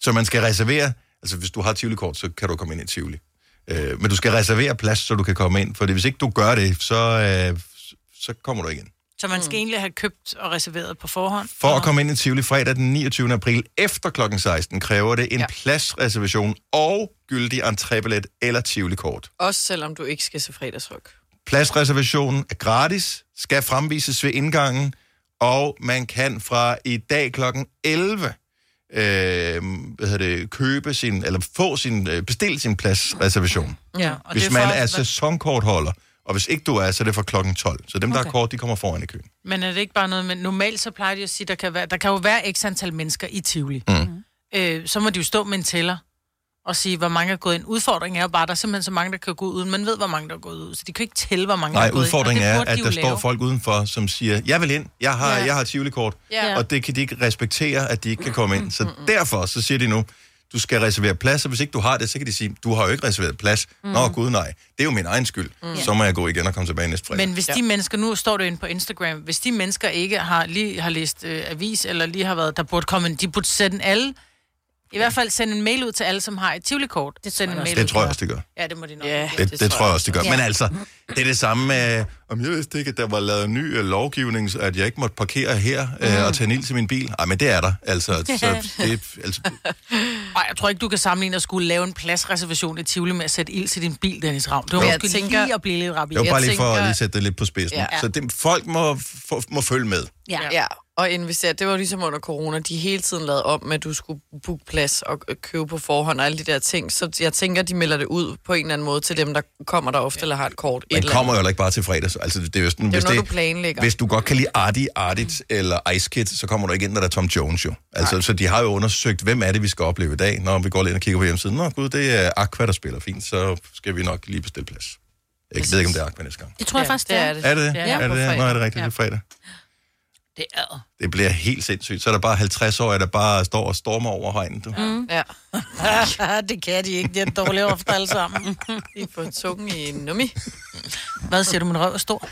Speaker 1: så man skal reservere, altså hvis du har Tivoli-kort, så kan du komme ind i Tivoli. Øh, men du skal reservere plads, så du kan komme ind, for hvis ikke du gør det, så, øh, så kommer du ikke ind.
Speaker 3: Så man skal egentlig have købt og reserveret på forhånd.
Speaker 1: For at komme ind i Tivoli fredag den 29. april efter kl. 16, kræver det en ja. pladsreservation og gyldig entrébillet eller Tivoli-kort.
Speaker 2: Også selvom du ikke skal se fredagsryk.
Speaker 1: Pladsreservationen er gratis, skal fremvises ved indgangen, og man kan fra i dag kl. 11 øh, hvad hedder det, købe sin, eller få sin, øh, bestille sin pladsreservation.
Speaker 3: Ja, og
Speaker 1: hvis
Speaker 3: det er
Speaker 1: man
Speaker 3: for-
Speaker 1: er sæsonkortholder, og hvis ikke du er, så er det fra klokken 12. Så dem, der okay. er kort, de kommer foran i køen.
Speaker 3: Men er det ikke bare noget, men normalt så plejer de at sige, der kan, være, der kan jo være x antal mennesker i Tivoli.
Speaker 1: Mm-hmm.
Speaker 3: Mm. Øh, så må de jo stå med en tæller og sige, hvor mange er gået ind. Udfordringen er jo bare, at der er simpelthen så mange, der kan gå ud, uden man ved, hvor mange der er gået ud. Så de kan ikke tælle, hvor mange der
Speaker 1: Nej,
Speaker 3: er gået
Speaker 1: udfordringen er,
Speaker 3: ind. og det burde
Speaker 1: at
Speaker 3: de jo
Speaker 1: der står
Speaker 3: lave.
Speaker 1: folk udenfor, som siger, jeg vil ind, jeg har, ja. jeg har Tivoli-kort,
Speaker 2: Ja.
Speaker 1: og det kan de ikke respektere, at de ikke kan komme ind. Så derfor så siger de nu, du skal reservere plads, og hvis ikke du har det, så kan de sige, du har jo ikke reserveret plads. Mm. Nå gud nej, det er jo min egen skyld.
Speaker 3: Mm.
Speaker 1: Mm. Så må jeg gå igen og komme tilbage næste fredag.
Speaker 3: Men hvis ja. de mennesker, nu står det inde på Instagram, hvis de mennesker ikke har lige har læst øh, avis, eller lige har været, der burde komme en, de burde sende alle, i hvert fald sende en mail ud til alle, som har et tivoli-kort. Det, sende en mail
Speaker 1: Det
Speaker 3: ud
Speaker 1: tror jeg
Speaker 3: til-
Speaker 1: også, det gør.
Speaker 3: Ja, det må de nok.
Speaker 2: Ja,
Speaker 1: Det, det, det tror jeg også, det gør.
Speaker 3: Ja.
Speaker 1: Ja. Men altså, det er det samme med, om jeg vidste ikke, at der var lavet en ny øh, lovgivning, så at jeg ikke måtte parkere her øh, og tage en ild til min bil. Ej, men det er der. Altså, så det, altså,
Speaker 3: Ej, jeg tror ikke, du kan sammenligne at skulle lave en pladsreservation i Tivoli med at sætte ild til din bil, Dennis Ravn. Det var
Speaker 2: Men jeg
Speaker 3: måske
Speaker 2: tænker-
Speaker 3: lige at blive lidt rabiat.
Speaker 1: det var bare
Speaker 2: Jeg
Speaker 1: lige for at
Speaker 2: tænker-
Speaker 1: lige sætte det lidt på spidsen.
Speaker 2: Ja.
Speaker 1: Ja. Så det, folk må, for, må følge med.
Speaker 2: Ja. ja. Og investere, det var ligesom under corona, de hele tiden lavede om med, at du skulle booke plads og øh, købe på forhånd og alle de der ting. Så jeg tænker, de melder det ud på en eller anden måde til dem, der kommer der ofte eller har et kort. et
Speaker 1: Man
Speaker 2: eller andet.
Speaker 1: kommer jo heller ikke bare til fredags. Altså, det er jo sådan,
Speaker 2: Det er
Speaker 1: hvis,
Speaker 2: jo noget, du planlægger.
Speaker 1: hvis du godt kan lide Artie, Artit eller Ice Kid, så kommer du ikke ind, når der er Tom Jones jo. Altså, så de har jo undersøgt, hvem er det, vi skal opleve i dag. Når vi går lige ind og kigger på hjemmesiden, nå gud, det er Aqua, der spiller fint, så skal vi nok lige bestille plads. Jeg ved ikke, om det er Aqua næste gang.
Speaker 4: Det tror jeg
Speaker 2: Ja,
Speaker 4: faktisk,
Speaker 2: det
Speaker 4: det
Speaker 2: er det.
Speaker 1: Er det det?
Speaker 2: Ja,
Speaker 1: er
Speaker 2: på
Speaker 1: det det?
Speaker 2: fredag.
Speaker 1: Nå, er det rigtigt,
Speaker 2: Ja.
Speaker 1: ja. det er fredag.
Speaker 3: Det er
Speaker 1: Det bliver helt sindssygt. Så er der bare 50 år, der bare står og stormer over hegnen. Du.
Speaker 3: Mm.
Speaker 2: Ja.
Speaker 3: det kan de ikke. Det er et dårligt ofte alle sammen.
Speaker 2: De får tungen i nummi.
Speaker 3: Hvad siger du, min røv er stor?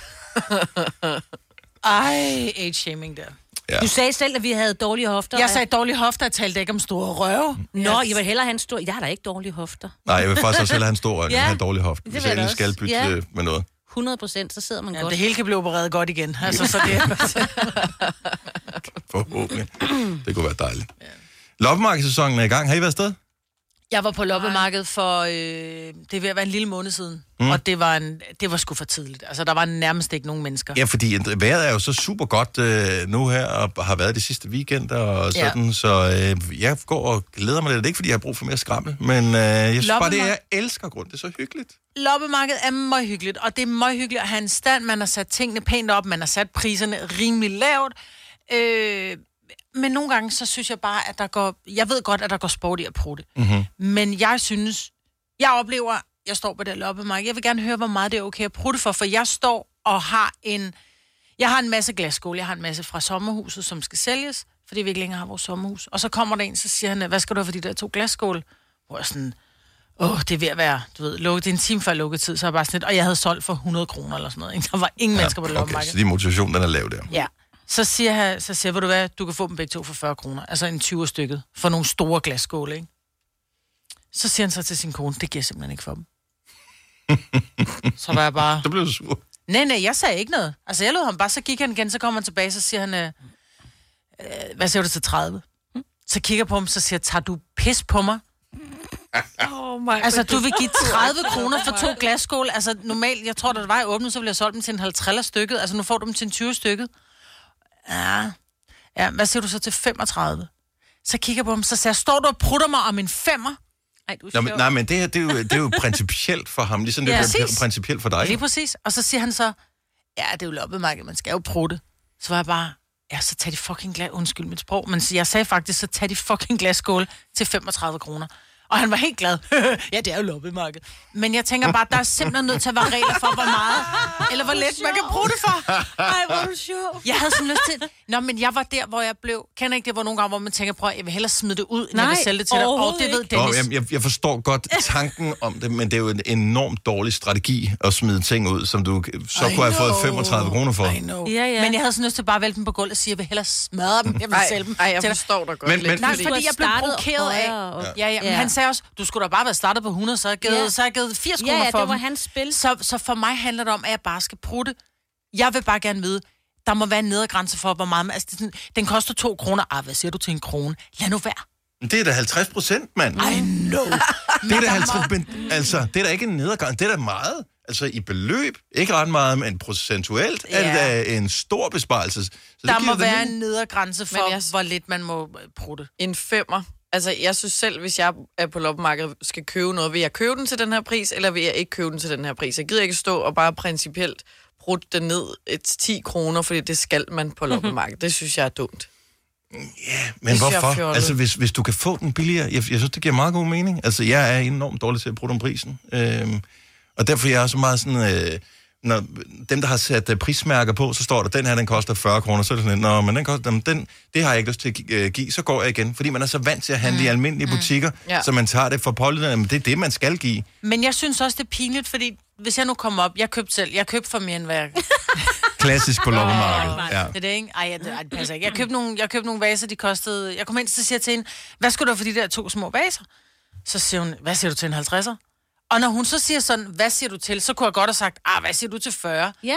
Speaker 3: Ej, age-shaming der.
Speaker 1: Ja.
Speaker 4: Du sagde selv, at vi havde dårlige hofter.
Speaker 3: Jeg
Speaker 4: og
Speaker 3: sagde dårlige hofter, jeg talte ikke om store røve.
Speaker 4: Nå, jeg vil hellere have en stor... Jeg har da ikke dårlige hofter.
Speaker 1: Nej, jeg vil faktisk også hellere have en stor øjne,
Speaker 4: Ja.
Speaker 1: ja. have en dårlig hoft.
Speaker 4: Det
Speaker 1: Hvis jeg
Speaker 4: vil jeg da
Speaker 1: endelig skal
Speaker 4: også.
Speaker 1: bytte
Speaker 4: Ja.
Speaker 1: øh, med noget.
Speaker 4: 100 procent, så sidder man
Speaker 3: Ja,
Speaker 4: godt.
Speaker 3: det hele kan blive opereret godt igen. Altså, så det er...
Speaker 1: Forhåbentlig. Det kunne være dejligt. Ja. Loppemarkedssæsonen er i gang. Har I været afsted?
Speaker 3: Jeg var på loppemarkedet for, øh, det er ved at være en lille måned siden, mm.
Speaker 1: Mm.
Speaker 3: og det var, en, det var sgu for tidligt. Altså, der var nærmest ikke nogen mennesker.
Speaker 1: Ja, fordi at vejret er jo så super godt øh, nu her, og har været de sidste weekender og
Speaker 3: Ja.
Speaker 1: sådan, ja. så øh, jeg går og glæder mig lidt. Det er ikke, fordi jeg har brug for mere skrammel, men øh, jeg synes bare, det er, jeg
Speaker 3: Loppemarked-
Speaker 1: elsker grund. Det er så hyggeligt.
Speaker 3: Loppemarkedet er meget hyggeligt, og det er meget hyggeligt at have en stand. Man har sat tingene pænt op, man har sat priserne rimelig lavt. Øh, men nogle gange, så synes jeg bare, at der går... Jeg ved godt, at der går sport i at bruge det.
Speaker 1: Mhm.
Speaker 13: Mm-hmm.
Speaker 3: Men jeg synes, jeg oplever, jeg står på det her loppemarked. Jeg vil gerne høre, hvor meget det er okay at prutte for, for jeg står og har en... Jeg har en masse glasskål, jeg har en masse fra sommerhuset, som skal sælges, fordi vi ikke længere har vores sommerhus. Og så kommer der en, så siger han, hvad skal du have for de der to glasskål? Hvor jeg sådan, åh, det er ved at være, du ved, lukket. Det er en time før lukketid, så er jeg bare sådan lidt, og jeg havde solgt for 100 kroner eller sådan noget. Ikke? Der var ingen ja, mennesker på det
Speaker 1: okay,
Speaker 3: loppemarked.
Speaker 1: så din motivation, den er lav der.
Speaker 3: Ja. Så siger, han, så siger, ved du hvad, du kan få dem begge to for 40 kroner. Altså en 20 stykket for nogle store glasskåle, ikke? Så siger han så til sin kone, det giver jeg simpelthen ikke for dem. så var jeg bare...
Speaker 1: Så blev du sur.
Speaker 3: Nej, nej, jeg sagde ikke noget. Altså jeg lod ham bare, så gik han igen, så kommer han tilbage, så siger han, øh, øh, hvad siger du til 30?
Speaker 2: Hm?
Speaker 3: Så kigger jeg på ham, så siger jeg, tager du pis på mig?
Speaker 2: Oh my Oh
Speaker 3: Altså, du vil give 30 kroner for to glasskål. Altså, normalt, jeg tror, da det var i åbnet, så ville jeg solgt dem til en 50 stykket. Altså, nu får du dem til en 20 stykket. Ja. ja, hvad siger du så til 35? Så kigger jeg på dem, så siger jeg, står du og prutter mig om en femmer? Ej, du
Speaker 1: Nå, men, nej, men det her, det er, jo, det er jo principielt for ham, ligesom det
Speaker 3: Ja,
Speaker 1: ja,
Speaker 3: præcis.
Speaker 1: er principielt for dig.
Speaker 3: Lige præcis. Og så siger han så, ja, det er jo loppemarked, man skal jo prutte. Så var jeg bare, ja, så tag de fucking glas, undskyld mit sprog, men så- jeg sagde faktisk, så tag de fucking glasskål til 35 kroner. Og han var helt glad. ja, det er jo loppemarked. Men jeg tænker bare, der er simpelthen nødt til at være regler for, hvor meget eller hvor let man kan bruge det for.
Speaker 4: Ej, hvor er du sjov.
Speaker 3: Jeg havde sådan lyst til... Nå, men jeg var der, hvor jeg blev... Kender ikke det, hvor nogle gange, hvor man tænker, prøv at- jeg vil hellere smide det ud, end Nej, jeg vil
Speaker 4: Nej,
Speaker 3: sælge det til dig. Og
Speaker 4: overhovedet
Speaker 3: det ved
Speaker 4: ikke.
Speaker 1: Nå,
Speaker 3: Dennis.
Speaker 1: jeg, jeg, jeg forstår godt tanken om det, men det er jo en enormt dårlig strategi at smide ting ud, som du så
Speaker 3: I
Speaker 1: kunne have fået
Speaker 3: know.
Speaker 1: 35 kroner for.
Speaker 3: Ja, ja. Men jeg havde sådan lyst til bare at vælte dem på gulvet og sige, at jeg vil hellere smadre dem. Jeg vil
Speaker 2: Ej,
Speaker 3: sælge dem.
Speaker 2: ej, jeg
Speaker 3: til dig.
Speaker 2: forstår dig godt Men- lidt, men-
Speaker 3: Nej,
Speaker 2: fordi-
Speaker 3: fordi jeg blev
Speaker 4: Du har startet
Speaker 3: provokeret af.
Speaker 4: højere op.
Speaker 3: Ja, ja. Men
Speaker 4: Ja.
Speaker 3: han sagde også, du skulle da bare være startet på 100, så har jeg givet,
Speaker 4: Ja.
Speaker 3: så har jeg givet 80
Speaker 4: Ja,
Speaker 3: kroner
Speaker 4: ja,
Speaker 3: for
Speaker 4: det var
Speaker 3: dem.
Speaker 4: hans spil.
Speaker 3: Så, så for mig handler det om, at jeg bare skal prutte. Jeg vil bare gerne vide, der må være en nedergrænse for, hvor meget... man- Altså, det er sådan, den koster to kroner. Ah, hvad siger du til en krone? Lad nu være.
Speaker 1: Men Det er da 50 procent, mand.
Speaker 3: I know.
Speaker 1: Det er da 50 men, altså, det er da ikke en nedergang, det er da meget. Altså i beløb, ikke ret meget, men procentuelt er det da en stor besparelse. Så det
Speaker 3: Der
Speaker 1: giver
Speaker 3: må
Speaker 1: da
Speaker 3: være
Speaker 1: min-
Speaker 3: en nedergrænse for, jeg... hvor lidt man må øh, prutte.
Speaker 2: En femmer. Altså, jeg synes selv, hvis jeg er på loppemarkedet skal købe noget, vil jeg købe den til den her pris, eller vil jeg ikke købe den til den her pris? Jeg gider ikke stå og bare principielt bruge den ned et 10 kroner, fordi det skal man på loppemarkedet. Det synes jeg er dumt.
Speaker 1: Men
Speaker 2: synes jeg er
Speaker 1: hvorfor?
Speaker 2: fjollet.
Speaker 1: Altså hvis, hvis du kan få den billigere, jeg, jeg synes, det giver meget god mening. Altså jeg er enormt dårlig til at bruge den prisen. Øhm, og derfor er jeg også meget sådan, øh, når dem, der har sat øh, prismærker på, så står der, den her, den koster 40 kroner, så er det sådan, lidt, nå, men den koster, jamen, den, det har jeg ikke lyst til at gi- øh, give, så går jeg igen. Fordi man er så vant til at handle mm. i almindelige butikker,
Speaker 3: Ja.
Speaker 1: ja. så man tager det for pålydende, men det er det, man skal give.
Speaker 3: Men jeg synes også, det er pinligt, fordi hvis jeg nu kommer op, jeg købte selv, jeg købte for mere end hvad jeg...
Speaker 1: Klassisk på loppemarkedet.
Speaker 3: Ja.
Speaker 1: Ja.
Speaker 3: Det er det, ikke? Ej, jeg, ej, det passer ikke. Jeg købte, nogle, jeg købte nogle vaser, de kostede... Jeg kom ind, så siger jeg til hende, hvad skulle der for de der to små vaser? Så siger hun, hvad siger du til en 50'er? Og når hun så siger sådan, hvad siger du til, så kunne jeg godt have sagt, ah, hvad siger du til 40?
Speaker 4: Ja.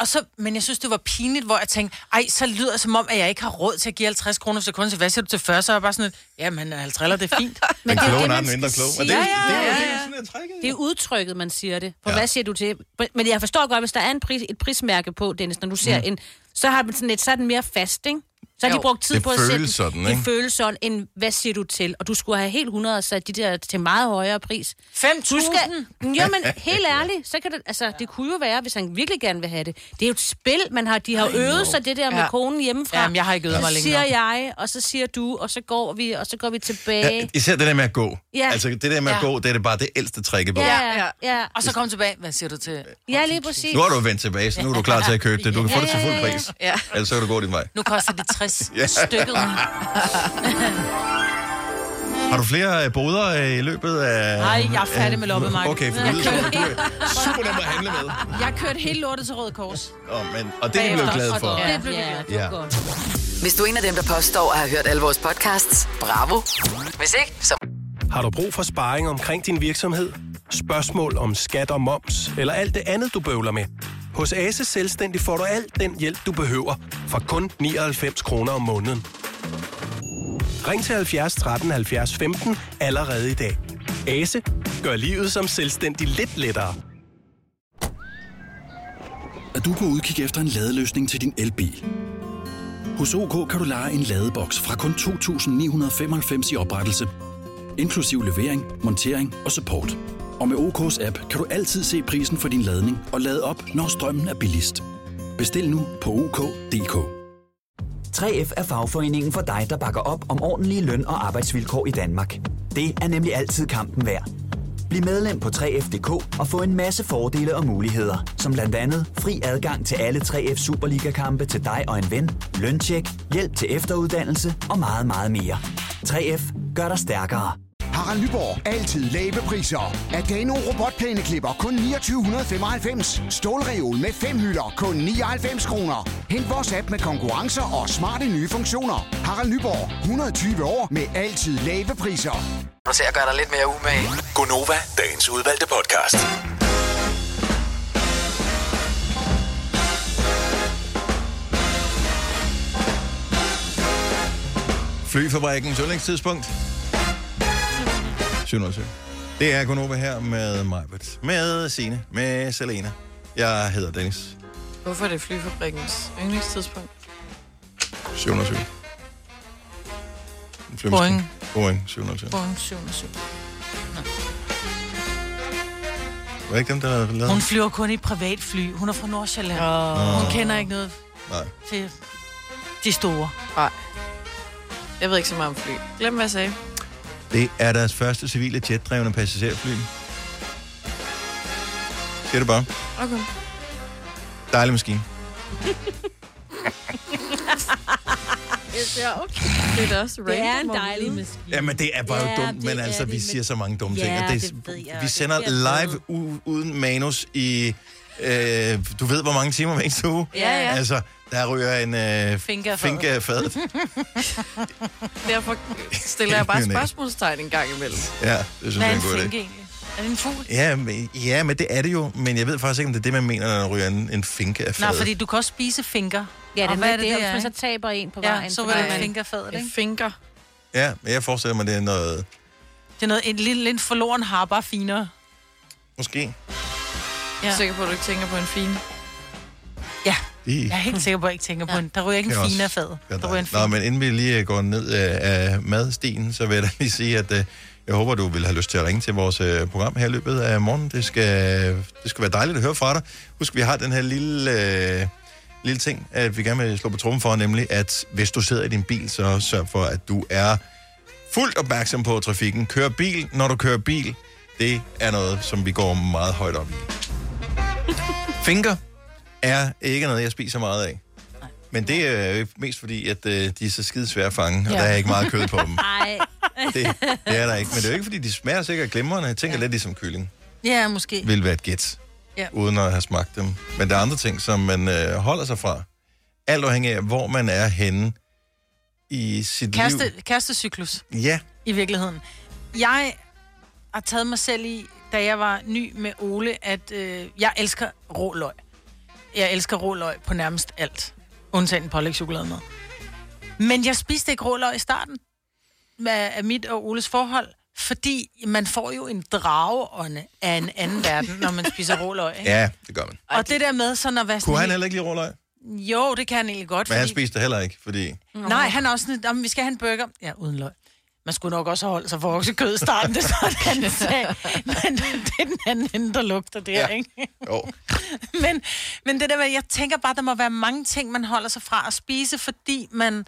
Speaker 3: Og så, men jeg synes, det var pinligt, hvor jeg tænkte, ej, så lyder det som om, at jeg ikke har råd til at give 50 kroner for sekund, så hvad siger du til 40? Så er jeg bare sådan, jamen 50, det er fint.
Speaker 1: Men Den det er jo kloge det, nær man den mindre skal kloge. Og det er- sige. det er jo- det er
Speaker 4: sådan, Det er udtrykket, man siger det. På ja. hvad siger du til? Men jeg forstår godt, hvis der er en pris, et prismærke på, Dennis, når du ser
Speaker 1: Mm.
Speaker 4: mm. en, så har man sådan lidt, så er den mere fast, ikke? Så har
Speaker 1: Jo.
Speaker 4: de brugt tid
Speaker 1: Det
Speaker 4: på at
Speaker 1: føles
Speaker 4: sætte den-
Speaker 1: sådan,
Speaker 4: det
Speaker 1: ikke?
Speaker 4: føles sådan, en, hvad siger du til? Og du skulle have helt 100 og sat de der til meget højere pris.
Speaker 3: 5.000?
Speaker 4: Du skal- Jo, men helt ærligt, så kan det, altså, det kunne jo være, hvis han virkelig gerne vil have det. Det er jo et spil, man har, de har
Speaker 3: I
Speaker 4: øvet
Speaker 3: know.
Speaker 4: sig det der med
Speaker 3: Ja.
Speaker 4: konen hjemmefra.
Speaker 3: Jamen, jeg har ikke øvet mig
Speaker 4: Så
Speaker 3: længe
Speaker 4: siger
Speaker 3: nok.
Speaker 4: jeg, og så siger du, og så går vi, og så går vi tilbage.
Speaker 1: Ja, især det der med at gå.
Speaker 4: Ja.
Speaker 1: Ja. Altså, det der med at
Speaker 4: Ja.
Speaker 1: gå, det er det bare det ældste trick i bogen.
Speaker 4: Ja, ja, ja.
Speaker 3: Og så kom tilbage, hvad siger du til?
Speaker 4: Ja, lige præcis.
Speaker 1: Nu har du vendt tilbage, så nu er du klar til at købe det. Du kan få det til fuld pris.
Speaker 3: Ja.
Speaker 1: Ellers så kan du gå din vej.
Speaker 3: Nu koster det 60
Speaker 1: Ja.
Speaker 3: stykket.
Speaker 1: Har du flere øh, boder øh, i løbet af...
Speaker 3: Nej, jeg er færdig med loppemarkedet.
Speaker 1: Okay, for
Speaker 3: Jeg
Speaker 1: det lyder som om, du er super nem at handle med.
Speaker 3: Jeg kørte hele lortet til Røde Kors.
Speaker 1: Åh, men, og det er jeg blevet glad for.
Speaker 3: Det blev vi glad for.
Speaker 1: Ja.
Speaker 6: Hvis du er en af dem, der påstår at have hørt alle vores podcasts, bravo. Hvis ikke, så...
Speaker 9: Har du brug for sparring omkring din virksomhed? Spørgsmål om skat og moms, eller alt det andet, du bøvler med? Hos Ase Selvstændig får du alt den hjælp, du behøver, for kun 99 kroner om måneden. Ring til 70 13 70 15 allerede i dag. Ase gør livet som selvstændig lidt lettere.
Speaker 13: er du på udkig efter en ladeløsning til din elbil. Hos OK kan du lege en ladeboks fra kun 2.995 i oprettelse, inklusiv levering, montering og support. Og med OK's app kan du altid se prisen for din ladning og lade op, når strømmen er billigst. Bestil nu på OK.dk.
Speaker 14: 3F er fagforeningen for dig, der bakker op om ordentlige løn- og arbejdsvilkår i Danmark. Det er nemlig altid kampen værd. Bliv medlem på 3F.dk og få en masse fordele og muligheder, som blandt andet fri adgang til alle 3F Superliga-kampe til dig og en ven, løntjek, hjælp til efteruddannelse og meget, meget mere. 3F gør dig stærkere.
Speaker 12: Harald Nyborg. Altid lave priser. Adano robotplæneklipper kun 2995. Stålreol med fem hylder kun 99 kroner. Hent vores app med konkurrencer og smarte nye funktioner. Harald Nyborg. 120 år med altid lave priser.
Speaker 6: Du ser at gøre dig lidt mere umage.
Speaker 15: Gonova, dagens udvalgte podcast.
Speaker 1: Flyfabrikkens yndlingstidspunkt. 707. Det er Gunova her med Majbert, med Sine, med Selena. Jeg hedder Dennis.
Speaker 2: Hvorfor er det flyfabrikkens yndlingstidspunkt?
Speaker 1: 707. Den flyvemaskine.
Speaker 3: Boeing.
Speaker 1: Boeing 707.
Speaker 3: Boeing 707.
Speaker 1: Var det ikke dem, der lavede den?
Speaker 3: Hun flyver kun i privatfly. Hun er fra Nordsjælland. Oh. Hun kender ikke noget
Speaker 1: Nej.
Speaker 3: til de store.
Speaker 2: Nej. Jeg ved ikke så meget om fly. Glem, hvad jeg sagde.
Speaker 1: Det er deres første civile jetdrevne passagerfly. Siger det bare.
Speaker 2: Okay.
Speaker 1: Dejlig maskine.
Speaker 2: ja, okay. Det er da også
Speaker 4: Det er en
Speaker 2: random at
Speaker 4: dejlig
Speaker 2: vide.
Speaker 1: Jamen, det er bare
Speaker 2: Ja,
Speaker 1: ja, dumt,
Speaker 2: det
Speaker 1: men
Speaker 2: er
Speaker 1: altså,
Speaker 2: det,
Speaker 1: vi
Speaker 2: men-
Speaker 1: siger så mange dumme
Speaker 2: Ja,
Speaker 1: ting. og
Speaker 2: det ved jeg,
Speaker 1: vi
Speaker 2: det
Speaker 1: sender
Speaker 2: bliver bedre.
Speaker 1: live u- uden manus i, øh, du ved, hvor mange timer hver eneste uge.
Speaker 2: Ja, ja.
Speaker 1: Altså, der ryger en øh,
Speaker 2: Finger af fadet.
Speaker 1: finke af fadet.
Speaker 2: Derfor stiller jeg bare
Speaker 1: Helt ny idé.
Speaker 2: spørgsmålstegn en gang imellem.
Speaker 1: Ja, det synes jeg er en god idé.
Speaker 3: egentlig? Er det en fugl?
Speaker 1: Ja, men, ja, men det er det jo, men jeg ved faktisk ikke, om det er det, man mener, når der ryger en, en finke af fadet.
Speaker 3: Nej, fordi du kan også spise finger.
Speaker 4: Ja, det
Speaker 3: Og
Speaker 4: er
Speaker 3: hvad
Speaker 4: det, det,
Speaker 3: er,
Speaker 4: det, hvis man så
Speaker 3: ikke?
Speaker 4: taber en på
Speaker 3: Ja,
Speaker 4: vejen.
Speaker 3: så var det fingerfadet, ikke?
Speaker 2: Finger.
Speaker 1: Ja, men jeg forestiller mig, det er noget...
Speaker 3: Det er noget, en lille, en forloren har bare finere.
Speaker 1: Måske.
Speaker 3: Ja.
Speaker 2: Jeg er sikker på, at du ikke tænker på en fin.
Speaker 3: Ja.
Speaker 1: Det-
Speaker 3: Jeg er helt sikker på, at jeg ikke tænker på en. Der ryger ikke
Speaker 1: Kan
Speaker 3: en
Speaker 1: også
Speaker 3: finere fad.
Speaker 1: Ja,
Speaker 3: Der ryger en
Speaker 1: nej. Nå, men inden vi lige går ned øh, af madstien, så vil jeg da lige sige, at øh, jeg håber, du vil have lyst til at ringe til vores øh, program her i løbet af morgenen. Det skal, det skal være dejligt at høre fra dig. Husk, vi har den her lille, øh, lille ting, at vi gerne vil slå på trummen for, nemlig at hvis du sidder i din bil, så sørg for, at du er fuldt opmærksom på trafikken. Kør bil, når du kører bil. Det er noget, som vi går meget højt op i. Finger er ikke noget, jeg spiser meget af. Men det er øh, mest fordi, at øh, de er så skidesvære at fange, og der er ikke meget kød på dem.
Speaker 4: Nej.
Speaker 1: Det, det er der ikke. Men det er jo ikke, fordi de smager sikkert glimrende. Jeg tænker lidt ligesom kylling.
Speaker 3: Ja, måske.
Speaker 1: Vil være et gæt,
Speaker 3: Ja.
Speaker 1: uden at have smagt dem. Men der er andre ting, som man øh, holder sig fra. Alt afhængig af, hvor man er henne i sit
Speaker 3: Kæreste,
Speaker 1: liv.
Speaker 3: kærestecyklus,
Speaker 1: Ja,
Speaker 3: i virkeligheden. Jeg har taget mig selv i, da jeg var ny med Ole, at øh, jeg elsker rå løg. Jeg elsker rå løg på nærmest alt. Undtagen pålægtschokolade med. Men jeg spiste ikke rå løg i starten af af mit og Oles forhold, fordi man får jo en drageånde af en anden verden, når man spiser rå løg. Ikke?
Speaker 1: ja, det gør man.
Speaker 3: Og det der med sådan at være sådan...
Speaker 1: Kunne han
Speaker 3: helt-
Speaker 1: heller ikke lide råløg?
Speaker 3: Jo, det kan han egentlig godt.
Speaker 1: Men han spiste det heller ikke, fordi...
Speaker 3: Nej, han er også sådan, om vi skal have en burger. Ja, uden løg. Man skulle nok også have holdt sig for oksekød i starten, det er sådan, han sagde. Men det er den anden ende, der lugter der, ja. ikke?
Speaker 1: Jo.
Speaker 3: Men, men det der med, jeg tænker bare, der må være mange ting, man holder sig fra at spise, fordi man,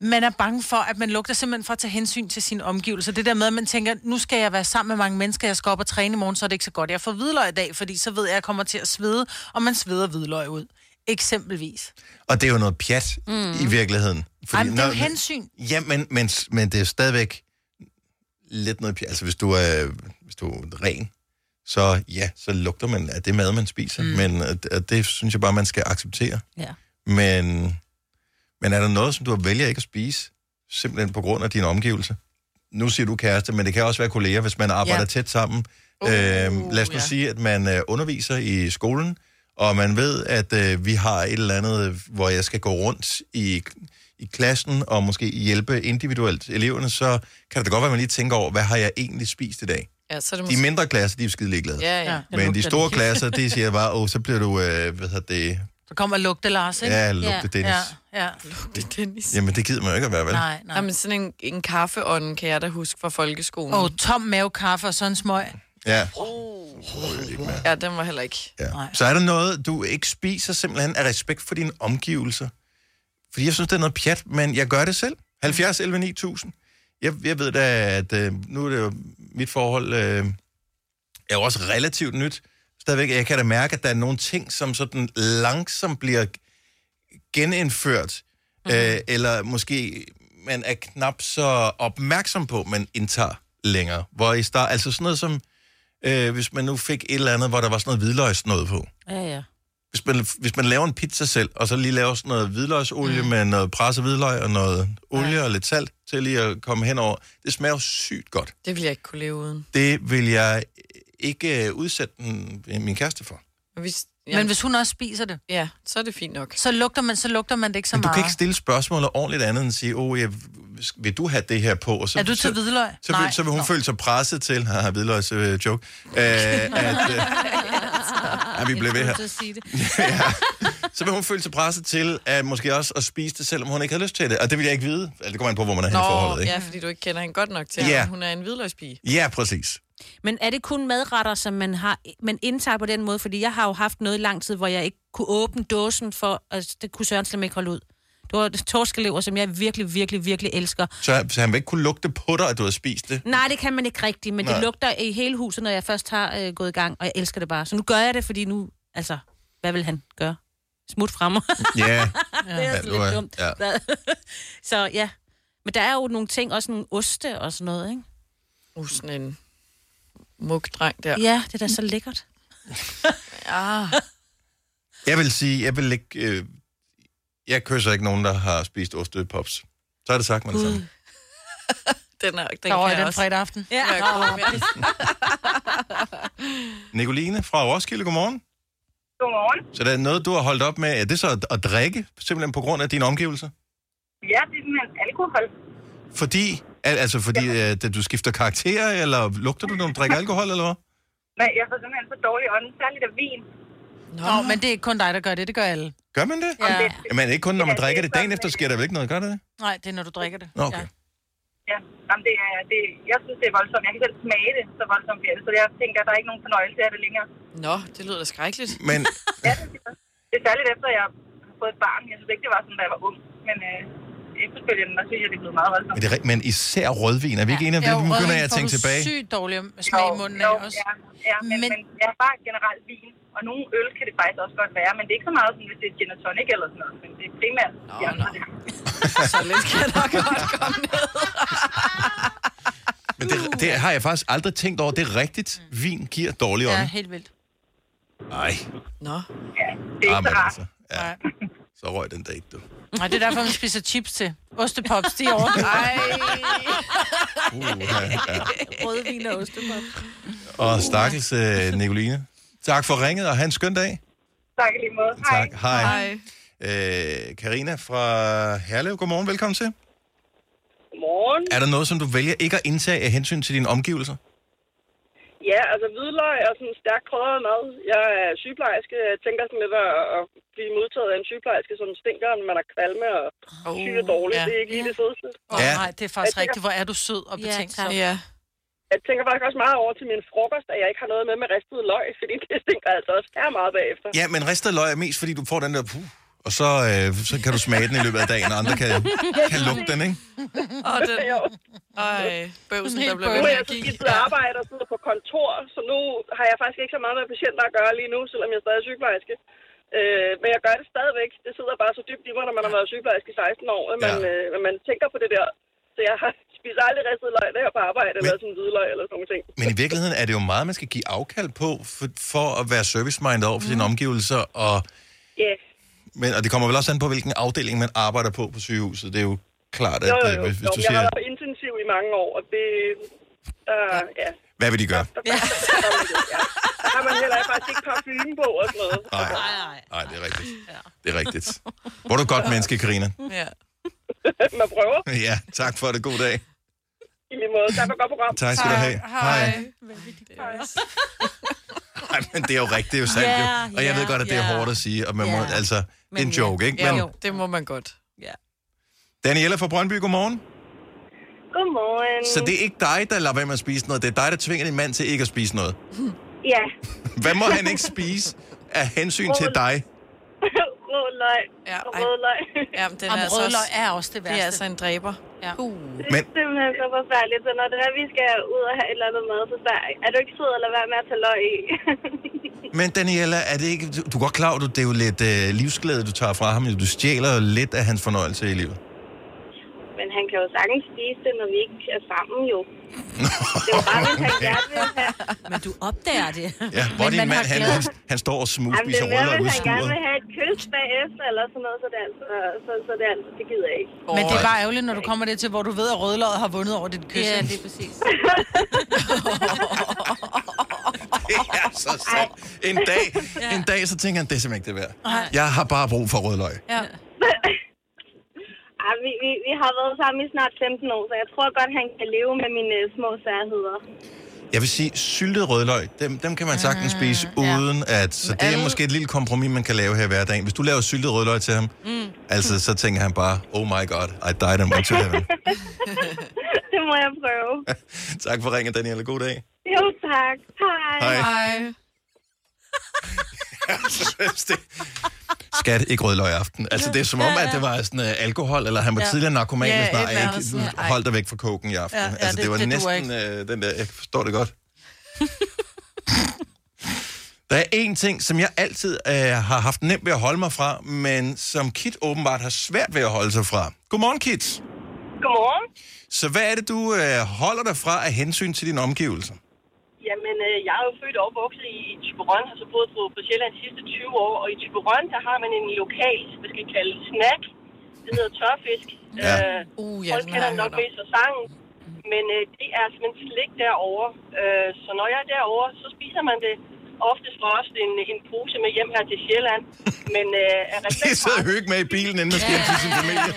Speaker 3: man er bange for, at man lugter simpelthen for at tage hensyn til sine omgivelser. Det der med, at man tænker, nu skal jeg være sammen med mange mennesker, jeg skal op og træne i morgen, så er det ikke så godt. Jeg får hvidløg i dag, fordi så ved jeg, at jeg kommer til at svede, og man sveder hvidløg ud. Eksempelvis.
Speaker 1: Og det er jo noget pjat
Speaker 3: Mm.
Speaker 1: mm. i virkeligheden.
Speaker 3: Ej, men det er jo hensyn.
Speaker 1: Ja, men, men, men det er stadigvæk lidt noget pjat. Altså, hvis du er, hvis du er ren, så ja, så lugter man af det mad, man spiser. Mm. Men og, og det synes jeg bare, man skal acceptere.
Speaker 4: Ja.
Speaker 1: Men, men er der noget, som du vælger ikke at spise, simpelthen på grund af dine omgivelser? Nu siger du kæreste, men det kan også være kolleger, hvis man arbejder
Speaker 16: Ja.
Speaker 1: ja. tæt sammen. Uh, øhm, lad os
Speaker 16: ja.
Speaker 1: nu ja. sige, at man øh, underviser i skolen, og man ved, at øh, vi har et eller andet, øh, hvor jeg skal gå rundt i, i klassen og måske hjælpe individuelt eleverne, så kan det da godt være, at man lige tænker over, hvad har jeg egentlig spist i dag?
Speaker 2: Ja, så er det
Speaker 1: De
Speaker 2: måske...
Speaker 1: mindre klasser, de er jo skide ligeglade.
Speaker 2: Ja, ja. Den
Speaker 1: Men de
Speaker 2: lugter
Speaker 1: store
Speaker 2: det.
Speaker 1: klasser, de siger bare, åh, så bliver du, øh, hvad hedder det,
Speaker 3: Så kommer lugte, Lars, ikke?
Speaker 1: Ja, lugte, Dennis.
Speaker 3: Ja, ja.
Speaker 2: Lugte Dennis.
Speaker 1: jamen det gider man jo ikke at være, vel?
Speaker 3: Nej, nej.
Speaker 2: Jamen, sådan en, en kaffeånd kan jeg da huske fra folkeskolen.
Speaker 3: Og tom mavekaffe og sådan en smøg.
Speaker 1: Ja.
Speaker 2: Ja, den var heller ikke.
Speaker 1: Ja. Så er der noget, du ikke spiser simpelthen af respekt for dine omgivelser. Fordi jeg synes, det er noget pjat, men jeg gør det selv. 70, 11, 9000. Jeg, jeg ved da, at øh, nu er det jo mit forhold øh, er jo også relativt nyt. Stadigvæk, jeg kan da mærke, at der er nogle ting, som sådan langsomt bliver genindført, mm-hmm. øh, eller måske man er knap så opmærksom på, man indtager længere. Hvor i start, altså sådan noget som, øh, hvis man nu fik et eller andet, hvor der var sådan noget hvidløgsnød på.
Speaker 3: Ja, ja.
Speaker 1: Hvis man, hvis man laver en pizza selv, og så lige laver sådan noget hvidløgsolie mm. med noget presset hvidløg og noget olie og lidt salt til lige at komme henover, det smager jo sygt godt.
Speaker 2: Det ville jeg ikke kunne leve uden.
Speaker 1: Det vil jeg ikke øh, udsætte den, min kæreste for.
Speaker 2: Men Hvis,
Speaker 3: Men hvis hun også spiser det,
Speaker 2: ja, så er det fint nok.
Speaker 3: Så lugter man, så lugter man det ikke så
Speaker 1: Men du
Speaker 3: meget.
Speaker 1: kan ikke stille spørgsmålet ordentligt andet end at sige, åh, jeg, vil du have det her på? Og så,
Speaker 3: Er du til
Speaker 1: så,
Speaker 3: hvidløg?
Speaker 1: Så, vil, så vil hun
Speaker 3: Nå.
Speaker 1: Nå. føle sig presset til, haha, hvidløgs øh, joke, øh, at, øh, at vi blev ved her. ja. Så vil hun føle sig presset til, at måske også at spise det, selvom hun ikke havde lyst til det. Og det vil jeg ikke vide. Altså, Det kommer an på, hvor man er henne i
Speaker 2: Nå,
Speaker 1: forholdet, ikke?
Speaker 2: ja, fordi du ikke kender hende godt nok til,
Speaker 1: Ja.
Speaker 2: at hun er en hvidløgspige.
Speaker 1: Ja, præcis.
Speaker 4: Men er det kun madretter, som man, har, man indtager på den måde? Fordi jeg har jo haft noget i lang tid, hvor jeg ikke kunne åbne dåsen, for altså, det kunne Søren slet ikke holde ud. Det var torskelever, som jeg virkelig, virkelig, virkelig elsker.
Speaker 1: Så, så han vil ikke kunne lugte på dig, at du har spist det.
Speaker 4: Nej, det kan man ikke rigtigt, men Nej.
Speaker 1: Nej.
Speaker 4: det lugter i hele huset, når jeg først har øh, gået i gang, og jeg elsker det bare. Så nu gør jeg det, fordi nu, altså, hvad vil han gøre? Smut fra mig.
Speaker 1: Ja.
Speaker 4: det er
Speaker 1: Ja,
Speaker 4: ja,
Speaker 1: du
Speaker 4: lidt
Speaker 1: er-
Speaker 4: dumt.
Speaker 1: ja.
Speaker 4: Ja. så ja, men der er jo nogle ting, også nogle oste og sådan noget, ikke?
Speaker 2: Uh, sådan en mugdreng der.
Speaker 4: Ja, ja det er da så lækkert.
Speaker 2: Ah.
Speaker 1: Jeg vil sige, jeg vil ikke... Øh, jeg kysser ikke nogen, der har spist ostepops. Så er det sagt, man det samme.
Speaker 2: Den er, den
Speaker 3: Der var
Speaker 2: kan jeg
Speaker 3: den
Speaker 2: også.
Speaker 3: fredag aften.
Speaker 4: Ja.
Speaker 1: Nicoline fra Roskilde, godmorgen.
Speaker 17: Godmorgen.
Speaker 1: Så der er noget, du har holdt op med. Er det så at, at drikke, simpelthen på grund af dine omgivelser?
Speaker 17: Ja, det er simpelthen alkohol.
Speaker 1: Fordi, al- altså fordi ja. øh, du skifter karakter, eller lugter du, når du drikker alkohol, eller hvad?
Speaker 17: Nej, jeg får simpelthen så dårlig ånd, særligt af vin.
Speaker 3: Nå, men det er ikke kun dig, der gør det. Det gør alle.
Speaker 1: Gør man det?
Speaker 3: Ja.
Speaker 1: Jamen, ikke kun når man drikker det. Dagen efter sker der vel ikke noget, gør der det?
Speaker 3: Nej, det er, når du drikker det.
Speaker 1: Nå, okay.
Speaker 17: Ja, jamen det er, det, jeg synes, det er voldsomt. Jeg kan selv smage det, så voldsomt bliver det. Så jeg tænker, der er ikke nogen fornøjelse af det længere.
Speaker 2: Nå, det lyder da skrækkeligt.
Speaker 1: Men
Speaker 17: Det er særligt efter, jeg har fået et barn. Jeg synes ikke, det var sådan, da jeg var ung. Men øh, efterfølgende, der synes jeg, det er blevet meget voldsomt.
Speaker 1: Men, det, er ri- men især rødvin. Er vi ikke enige om det? Nu begynder jeg at tænke tilbage.
Speaker 3: sygt dårlig smag i munden af også.
Speaker 17: Ja, ja men, men, men, jeg har bare generelt vin, og Og nogle øl kan det faktisk også godt være, men det er ikke så meget, som hvis det er gin og tonic eller sådan noget. Men det er primært... Nå, ja, nå.
Speaker 2: så lidt kan der godt komme ned.
Speaker 1: Men det, det har jeg faktisk aldrig tænkt over. Det er rigtigt. Vin giver dårlig ånd.
Speaker 3: Ja, helt vildt.
Speaker 1: Nej.
Speaker 2: Nå.
Speaker 17: Det er
Speaker 1: altså.
Speaker 17: ikke så rart.
Speaker 1: Ja. Så røg den date, du.
Speaker 3: Nej, det er derfor, man spiser chips til. Ostepops, de er overdøvet.
Speaker 2: Ej.
Speaker 1: Uh, ja, ja.
Speaker 4: Rødvin og ostepop.
Speaker 1: Og stakkels øh, Nicoline. Tak for ringet, og have en skøn dag.
Speaker 17: Tak i lige måde. Hej.
Speaker 1: Tak. Hej. Øh, Karina fra Herlev, godmorgen, velkommen til.
Speaker 16: Godmorgen.
Speaker 1: Er der noget, som du vælger ikke at indtage af hensyn til dine omgivelser?
Speaker 16: Ja, altså hvidløg og sådan stærkt krydret mad. Jeg er sygeplejerske. Jeg tænker sådan lidt at, at blive modtaget af en sygeplejerske, som stinker, når man har kvalme og syg og dårlig.
Speaker 3: ja.
Speaker 16: Det er ikke lige det fedeste.
Speaker 3: Åh, Ja. nej, det er faktisk
Speaker 16: Jeg tænker-
Speaker 3: rigtigt. Hvor er du sød og betænksom. Ja, tak.
Speaker 16: Jeg tænker faktisk også meget over til min frokost, at jeg ikke har noget med med ristet løg, fordi det stinker altså også her meget bagefter.
Speaker 1: Ja, men ristet løg er mest, fordi du får den der... Puh, og så, øh, så kan du smage den i løbet af dagen, og andre kan, kan lugte den, ikke?
Speaker 2: Og den... Ej, bøvsen, der blev
Speaker 16: Nu
Speaker 2: ved
Speaker 16: er
Speaker 2: med
Speaker 16: jeg
Speaker 2: at
Speaker 16: så
Speaker 2: give.
Speaker 16: skidt til arbejde og sidder på kontor, så nu har jeg faktisk ikke så meget med patienter at gøre lige nu, selvom jeg stadig er sygeplejerske. Øh, men jeg gør det stadigvæk. Det sidder bare så dybt i mig, når man har været sygeplejerske i 16 år, at man,
Speaker 1: Ja.
Speaker 16: øh, at man tænker på det der. Så jeg har spiser aldrig ristet løg, der jeg er på arbejde, eller sådan hvidløg, eller sådan noget ting.
Speaker 1: Men i virkeligheden er det jo meget, man skal give afkald på, for, for at være service-minded over for sine
Speaker 16: Mm.
Speaker 1: omgivelser. Og,
Speaker 16: Ja,
Speaker 1: men, og det kommer vel også an på, hvilken afdeling man arbejder på på sygehuset. Det er jo klart, at
Speaker 16: jo, jo,
Speaker 1: øh,
Speaker 16: jo.
Speaker 1: hvis, hvis
Speaker 16: jo
Speaker 1: du
Speaker 16: men jeg har
Speaker 1: siger,
Speaker 16: været på intensiv i mange år, og det... Øh, ja.
Speaker 1: hvad vil de gøre?
Speaker 16: Der har man heller ikke- faktisk ikke parfume på og sådan noget.
Speaker 1: Nej, nej, det er rigtigt. Det er rigtigt. Hvor er du et godt menneske, Karina.
Speaker 2: Ja.
Speaker 16: man prøver.
Speaker 1: Ja, tak for det. God dag.
Speaker 16: I lige måde. Tak for et godt program.
Speaker 1: Tak skal du have. Hej. Ej, men det er jo rigtigt, det er jo sandt.
Speaker 2: Ja,
Speaker 1: Yeah, og jeg ved
Speaker 2: ja,
Speaker 1: godt, at det er
Speaker 2: ja.
Speaker 1: hårdt at sige, og man må,
Speaker 2: Ja.
Speaker 1: altså, det er en joke, ikke?
Speaker 2: Ja,
Speaker 1: Men
Speaker 2: jo, det må man godt. Ja.
Speaker 1: Daniela fra Brøndby, godmorgen.
Speaker 18: Godmorgen.
Speaker 1: Så det er ikke dig, der lader være med at spise noget, det er dig, der tvinger din mand til ikke at spise noget.
Speaker 18: Ja,
Speaker 1: Hvad må han ikke spise af hensyn til dig?
Speaker 18: rødløg.
Speaker 2: Ja,
Speaker 18: og rødløg.
Speaker 2: Jamen, den
Speaker 3: Jamen,
Speaker 2: er altså
Speaker 3: rødløg
Speaker 2: også-
Speaker 3: er også det værste.
Speaker 2: Det er altså en dræber.
Speaker 3: Ja.
Speaker 2: Uh.
Speaker 18: Det er simpelthen så forfærdeligt, så når det er, vi skal ud og have et eller andet mad, så der, er du ikke sød at lade være med at tage løg i?
Speaker 1: Men Daniela, er det ikke... Du er godt klar, over, du det er jo lidt øh, livsglæde, du tager fra ham. Du stjæler jo lidt af hans fornøjelse i livet.
Speaker 18: Men han kan jo sagtens spise det, når vi ikke er sammen jo. Det var bare, hvis han gerne ville have. Men du opdager det.
Speaker 1: Ja, hvor er din mand, han, han, han står og
Speaker 18: Jamen, det
Speaker 1: smugspiser
Speaker 18: er mere,
Speaker 1: rødløg ud
Speaker 18: hvis
Speaker 1: i
Speaker 18: han gerne
Speaker 1: skuret.
Speaker 18: vil have et kys bagefter, eller sådan noget, så det er altså, så, så det, er altså, det gider jeg ikke.
Speaker 3: Men det er bare ærgerligt, når du kommer der til, hvor du ved, at rødløget har vundet over dit kys. Ja, det er præcis.
Speaker 1: Det er så sandt. En dag, en dag, så tænker han, det er simpelthen ikke det værd. Jeg har bare brug for rødløg.
Speaker 3: Ja.
Speaker 18: Ej, vi, vi, vi har været sammen i snart 15 år, så jeg tror godt, han kan leve med mine øh, små særheder.
Speaker 1: Jeg vil sige, syltet rødløg, dem, dem kan man sagtens
Speaker 18: Mm,
Speaker 1: spise uden at... Så det er måske et lille kompromis, man kan lave her i hverdagen. Hvis du laver syltet rødløg til ham,
Speaker 18: Mm.
Speaker 1: altså, så tænker han bare, oh my god, I died and went to heaven.
Speaker 18: det må jeg prøve.
Speaker 1: tak for ringen, Daniel. God dag.
Speaker 18: Jo, tak. Hej.
Speaker 1: Hej. det... Skat, ikke rødløg i aften. Altså, det er som om, at det var sådan uh, alkohol, eller han var
Speaker 3: Ja.
Speaker 1: tidligere narkoman,
Speaker 3: Ja,
Speaker 1: hvis
Speaker 3: et eller
Speaker 1: nej,
Speaker 3: andet
Speaker 1: ikke,
Speaker 3: sådan. Ej.
Speaker 1: hold dig væk fra koken i aften.
Speaker 3: Ja,
Speaker 1: Ja,
Speaker 3: ja,
Speaker 1: ja, altså, det,
Speaker 3: det-
Speaker 1: var
Speaker 3: det duer
Speaker 1: næsten uh, den der, jeg forstår det godt. Der er en ting, som jeg altid øh, har haft nemt ved at holde mig fra, men som Kit åbenbart har svært ved at holde sig fra. Godmorgen, Kit.
Speaker 18: Godmorgen.
Speaker 1: Så hvad er det, du øh, holder dig fra af hensyn til dine omgivelser?
Speaker 16: Jamen, øh, jeg er jo født og opvokset i Typerøn, har så boet på, på Sjælland de sidste 20 år, og i Typerøn, der har man en lokal, hvad skal vi kalde det, snack. Det hedder tørfisk.
Speaker 1: Ja.
Speaker 16: Uh, Folk
Speaker 2: ja, den har
Speaker 16: kender
Speaker 2: jeg
Speaker 16: den nok
Speaker 2: hørt om.
Speaker 16: mest for sangen. Men øh, det er simpelthen slik derovre. Øh, så når jeg er derovre, så spiser man det oftest for os en, en pose med hjem her til Sjælland. Men øh, af respekt
Speaker 1: Det sidder højt med i bilen, inden du skal hjem til sin familie.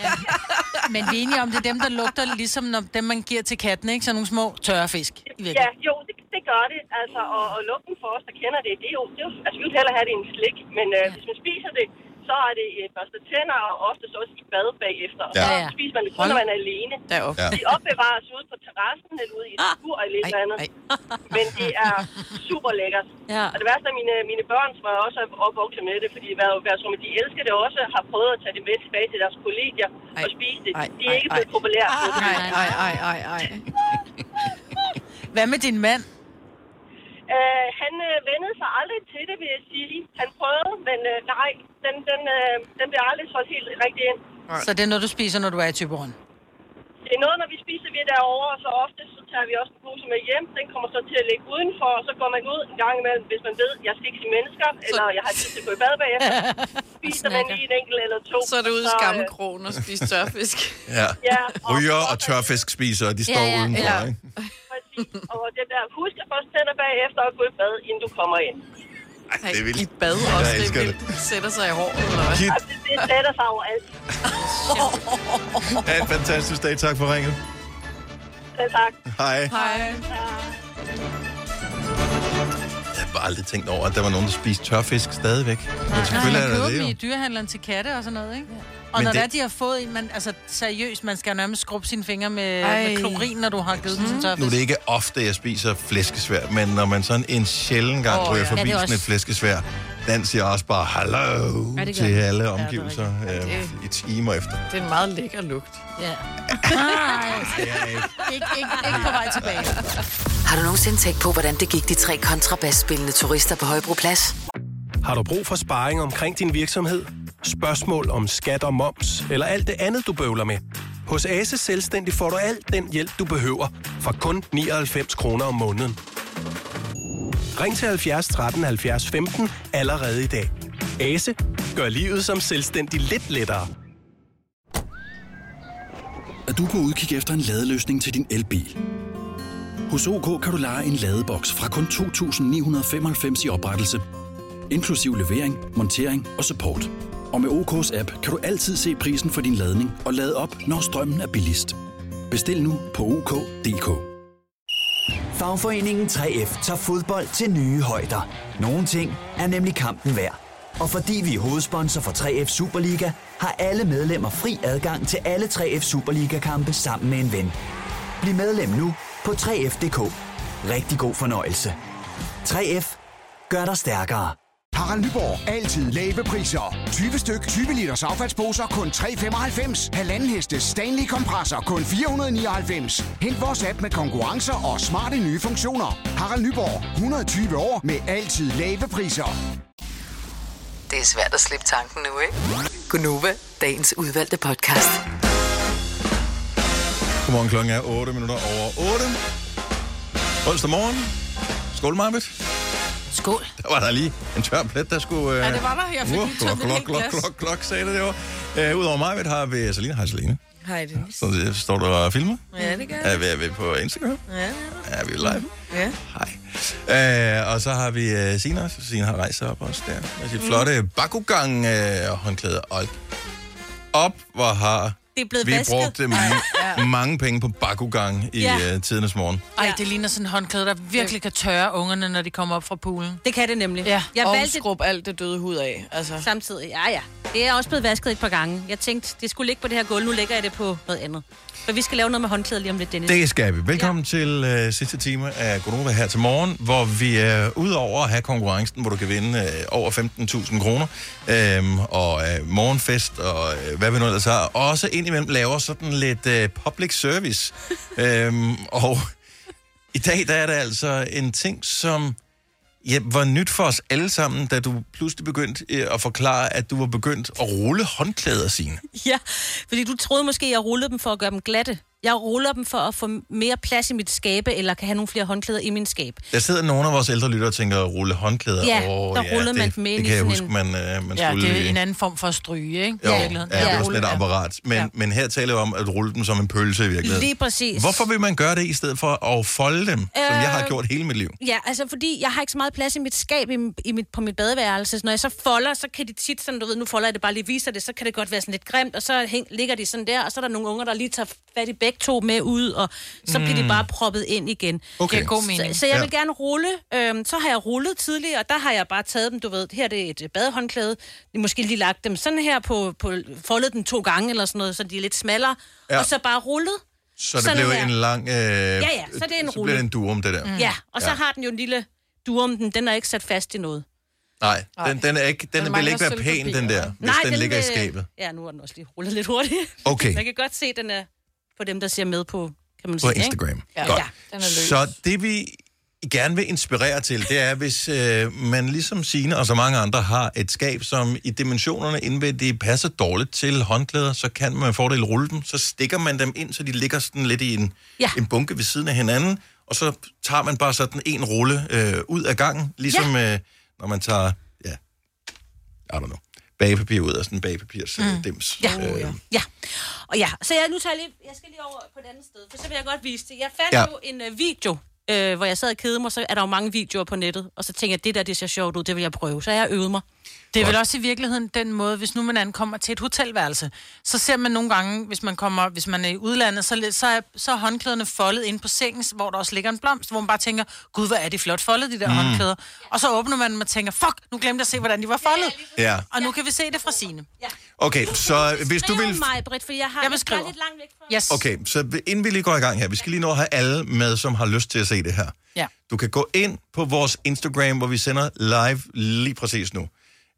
Speaker 3: Men vi er enige om, det er dem, der lugter, ligesom når dem, man giver til katten, ikke? Sådan nogle små tørre fisk. I
Speaker 16: Ja, jo, det, det gør det. Altså, og, og lugten for os, der kender det, det er jo... Det er jo altså, vi vil hellere have det i en slik, men øh, hvis man spiser det, så er det øh, børste tænder, og oftest også i bad bagefter. Og
Speaker 2: Ja.
Speaker 16: så
Speaker 2: Ja.
Speaker 16: spiser man det kun, når man er alene.
Speaker 2: Deroppe.
Speaker 16: Ja. De opbevares ude på terrassen, eller ude i et skur, eller et eller andet. Men det er super lækkert.
Speaker 4: Ja.
Speaker 16: Og det værste er mine, mine børn, som er også opvokset med det, fordi hver, hver som de elsker det også, har prøvet at tage det med tilbage til deres kolleger og spise det. det er ikke blevet populært.
Speaker 3: Ah.
Speaker 2: Ej, ej, ej, ej, ej.
Speaker 3: Hvad med din mand?
Speaker 19: Øh, han øh, vendede sig aldrig til det, vil jeg sige. Han prøvede, men øh, nej, den, den, øh, den bliver aldrig solgt helt rigtig ind.
Speaker 3: Så det er noget, du spiser, når du er i Tyborgen?
Speaker 19: Det er noget, når vi spiser vi er derovre, og så ofte så tager vi også en pose med hjem. Den kommer så til at ligge udenfor, og så går man ud en gang imellem, hvis man ved, jeg skal ikke se mennesker, eller jeg har tid til at gå i bad bagefter. Spiser man lige en enkelt eller to.
Speaker 2: Så er det ude i
Speaker 19: øh,
Speaker 2: skammekrogen og spise tørfisk.
Speaker 1: Ja.
Speaker 19: Ja, og-
Speaker 1: Ryger og tørfiskspiser, de
Speaker 19: Ja,
Speaker 1: står
Speaker 19: ja,
Speaker 1: udenfor,
Speaker 19: ja.
Speaker 1: ikke?
Speaker 19: og det der, husk at børste tænder bagefter og gå i bad, inden du kommer ind.
Speaker 1: Det er vildt.
Speaker 2: I bad
Speaker 1: Jeg
Speaker 2: også, det
Speaker 1: elsker
Speaker 2: er vildt. Sætter sig i håret, eller hvad?
Speaker 1: Kit.
Speaker 19: Det, det sætter sig over alt.
Speaker 1: Ha' en fantastisk dag. Tak for ringet.
Speaker 19: Ja, tak.
Speaker 1: Hej.
Speaker 2: Hej.
Speaker 1: Jeg har bare aldrig tænkt over, at der var nogen, der spiste tørfisk stadigvæk. Men selvfølgelig
Speaker 3: man
Speaker 1: er
Speaker 3: køber
Speaker 1: der det
Speaker 3: dem i
Speaker 1: jo.
Speaker 3: dyrehandleren til katte og sådan noget, ikke? Og
Speaker 1: Men
Speaker 3: når
Speaker 1: det-
Speaker 3: det... er, de har fået en, man, altså seriøst, man skal nærmest skrubbe sine fingre med,
Speaker 2: Ej.
Speaker 3: med klorin, når du har givet mm. den
Speaker 1: Mm-hmm. Nu
Speaker 3: til
Speaker 1: er
Speaker 3: tørfisk.
Speaker 1: det ikke ofte, jeg spiser flæskesvær, men når man sådan en sjælden gang oh,
Speaker 3: Åh,
Speaker 1: ryger
Speaker 3: ja.
Speaker 1: forbi
Speaker 3: Ja, det er
Speaker 1: sådan et
Speaker 3: også-
Speaker 1: flæskesvær, den siger også bare hallo
Speaker 2: Ja,
Speaker 1: ja,
Speaker 2: det gør
Speaker 1: til
Speaker 2: den.
Speaker 1: alle
Speaker 2: Ja, det er
Speaker 1: omgivelser ja,
Speaker 2: rigtigt.
Speaker 1: øh, i timer efter.
Speaker 2: Det er en meget lækker lugt.
Speaker 3: Ja.
Speaker 2: ikke, ikke, ikke på vej tilbage.
Speaker 6: Har du nogensinde tænkt på, hvordan det gik de tre kontrabasspillende turister på Højbroplads?
Speaker 9: Har du brug for sparring omkring din virksomhed? Spørgsmål om skat og moms, eller alt det andet, du bøvler med? Hos Ase Selvstændig får du alt den hjælp, du behøver, for kun 99 kroner om måneden. Ring til 70 13 70 15 allerede i dag. Ase gør livet som selvstændig lidt lettere.
Speaker 13: Er du på udkig efter en ladeløsning til din elbil? Hos OK kan du lege en ladeboks fra kun 2.995 i oprettelse, inklusiv levering, montering og support. Og med OK's app kan du altid se prisen for din ladning og lade op, når strømmen er billigst. Bestil nu på OK.dk.
Speaker 14: Fagforeningen 3F tager fodbold til nye højder. Nogle ting er nemlig kampen værd. Og fordi vi er hovedsponsor for 3F Superliga, har alle medlemmer fri adgang til alle 3F Superliga-kampe sammen med en ven. Bliv medlem nu på 3F.dk. Rigtig god fornøjelse. 3F gør dig stærkere.
Speaker 12: Harald Nyborg. Altid lave priser. 20 styk, 20 liters affaldsposer kun 3,95. Halvanden heste Stanley kompresser kun 499. Hent vores app med konkurrencer og smarte nye funktioner. Harald Nyborg. 120 år med altid lave priser.
Speaker 6: Det er svært at slippe tanken nu, ikke? Gunova, dagens udvalgte podcast.
Speaker 1: Godmorgen, klokken er 8 minutter over 8. Onsdag morgen. Skål, Marbet.
Speaker 3: Skål.
Speaker 1: Der var der lige en tør plet, der skulle... Øh...
Speaker 2: Ja, det var der. Jeg fik lige
Speaker 1: klok,
Speaker 2: tømt et
Speaker 1: klok,
Speaker 2: helt
Speaker 1: klok,
Speaker 2: glas.
Speaker 1: klok, klok, sagde det, det var. Øh, Udover Marbet har vi Selina. Hej, Selina.
Speaker 2: Hej, Dennis.
Speaker 1: Så det står du og filmer.
Speaker 2: Ja, det gør
Speaker 1: Er vi, er vi på Instagram?
Speaker 2: Ja,
Speaker 1: Er vi live?
Speaker 2: ja.
Speaker 1: Øh, og så har vi øh, Sina. Sina har rejst sig op også der. Med sit
Speaker 4: Mm.
Speaker 1: flotte bakugang øh, håndklæde. Og op, hvor har
Speaker 4: Det er blevet
Speaker 1: vi
Speaker 4: vasket.
Speaker 1: brugt øh,
Speaker 3: Ja.
Speaker 1: mange penge på bakugang i
Speaker 3: Ja.
Speaker 1: ja. øh, tidernes morgen.
Speaker 3: Ej, det ligner sådan en håndklæde, der virkelig kan tørre ungerne, når de kommer op fra poolen.
Speaker 4: Det kan det nemlig.
Speaker 3: Ja.
Speaker 4: Jeg
Speaker 2: og
Speaker 4: valgte-
Speaker 2: skrub alt det døde hud af. Altså.
Speaker 4: Samtidig, ja ja. Det er også blevet vasket et par gange. Jeg tænkte, det skulle ligge på det her gulv, nu lægger jeg det på noget andet. For vi skal lave noget med håndklæder lige om lidt, Dennis.
Speaker 1: Det skal vi. Velkommen ja. til øh, sidste time af Gonova her til morgen, hvor vi er øh, udover at have konkurrencen, hvor du kan vinde øh, over 15.000 kroner, øh, og øh, morgenfest og øh, hvad vi nu ellers har, også indimellem laver sådan lidt øh, public service. øh, og i dag der er der altså en ting, som ja, var nyt for os alle sammen, da du pludselig begyndte øh, at forklare, at du var begyndt at rulle håndklæder, sine.
Speaker 4: Ja, fordi du troede måske, at jeg rullede dem for at gøre dem glatte. Jeg ruller dem for at få mere plads i mit skabe, eller kan have nogle flere håndklæder i min skab.
Speaker 1: Der sidder nogle af vores ældre lyttere og tænker, rulle håndklæder.
Speaker 4: Ja,
Speaker 1: Åh,
Speaker 4: der rullede
Speaker 1: det,
Speaker 4: man dem ind
Speaker 1: Det
Speaker 4: i
Speaker 1: kan jeg huske,
Speaker 4: sådan en-
Speaker 1: man, øh, man
Speaker 3: ja,
Speaker 1: skulle...
Speaker 3: det er en anden form for at stryge, ikke?
Speaker 1: Jo,
Speaker 3: I
Speaker 1: ja, det
Speaker 3: virkeligheden.
Speaker 1: er sådan et apparat. Men, ja. men her taler jeg om at rulle dem som en pølse i virkeligheden.
Speaker 4: Lige præcis.
Speaker 1: Hvorfor vil man gøre det, i stedet for at folde dem, øh... som jeg har
Speaker 4: Øh,
Speaker 1: gjort hele mit liv?
Speaker 4: Ja, altså fordi jeg har ikke så meget plads i mit skab i, i mit, på mit badeværelse. Så når jeg så folder, så kan de tit sådan, du ved, nu folder jeg det bare lige, viser det, så kan det godt være sådan lidt grimt, og så hæng, ligger de sådan der, og så er der nogle unger, der lige tager fat i begge to med ud, og så bliver de
Speaker 3: Mm.
Speaker 4: bare proppet ind igen.
Speaker 3: Okay. Det er god mening.
Speaker 4: Så, så jeg vil
Speaker 3: Ja.
Speaker 4: gerne rulle. Øhm, så har jeg rullet tidligere, og der har jeg bare taget dem, du ved, her er det et øh, badehåndklæde, måske lige lagt dem sådan her på, på foldet den to gange eller sådan noget, så de er lidt smallere,
Speaker 1: Ja.
Speaker 4: ja. og så bare rullet.
Speaker 1: Så det
Speaker 4: sådan
Speaker 1: blev
Speaker 4: her.
Speaker 1: en lang... Øh... Ja,
Speaker 4: ja, så det er en
Speaker 1: Så blev
Speaker 4: rulle.
Speaker 1: det en durum, det der.
Speaker 4: Mm. Ja, og så ja. har den jo en lille durum, den, den er ikke sat fast i noget.
Speaker 1: Nej, den, den, er ikke, den, den vil
Speaker 4: mangler
Speaker 1: ikke være pæn, den der, hvis den, ligger i
Speaker 4: vil-
Speaker 1: skabet.
Speaker 4: øh, Ja, nu er den også lige rullet lidt hurtigt.
Speaker 1: Okay.
Speaker 4: Man kan godt se, at den er for dem, der ser med på, kan
Speaker 1: På
Speaker 4: man sige, ikke?
Speaker 1: Instagram.
Speaker 4: Ja.
Speaker 1: Godt.
Speaker 4: ja, den er løs.
Speaker 1: Så det vi gerne vil inspirere til, det er, hvis øh, man ligesom Signe og så mange andre har et skab, som i dimensionerne inde ved det passer dårligt til håndklæder, så kan man med fordel rulle dem, så stikker man dem ind, så de ligger sådan lidt i en,
Speaker 4: Ja.
Speaker 1: ja. en bunke ved siden af hinanden, og så tager man bare sådan en rulle øh, ud af gangen, ligesom ja. øh, når man tager, ja, I don't know, bagepapir ud af sådan en bagepapirs mm. dims.
Speaker 4: Ja.
Speaker 1: Øh,
Speaker 4: Ja, og ja, så jeg, nu tager jeg lige, jeg skal lige over på et andet sted, for så vil jeg godt vise det. Jeg fandt ja.
Speaker 1: Ja.
Speaker 4: jo en øh, video, øh, hvor jeg sad og kedede mig, så er der jo mange videoer på nettet, og så tænkte jeg, det der, det ser sjovt ud, det vil jeg prøve, så jeg øvede mig.
Speaker 3: Det er vel også i virkeligheden den måde, hvis nu man ankommer til et hotelværelse, så ser man nogle gange, hvis man kommer, hvis man er i udlandet, så, lidt- så, er, så er håndklæderne foldet ind på sengen, hvor der også ligger en blomst, hvor man bare tænker, gud, hvor er de flot foldet, de der mm.
Speaker 1: Mm.
Speaker 3: håndklæder. Og så åbner man dem og tænker, fuck, nu glemte jeg at se, hvordan de var foldet.
Speaker 1: Ja.
Speaker 3: Og nu kan vi se det fra sine.
Speaker 1: Okay, så øh, hvis du vil
Speaker 4: mig, Britt, for jeg har jeg
Speaker 3: beskriver.
Speaker 4: lidt langt væk fra...
Speaker 3: Yes.
Speaker 1: Okay, så inden vi lige går i gang her, vi skal lige nå at have alle med, som har lyst til at se det her.
Speaker 3: Ja.
Speaker 1: Du kan gå ind på vores Instagram, hvor vi sender live lige præcis nu.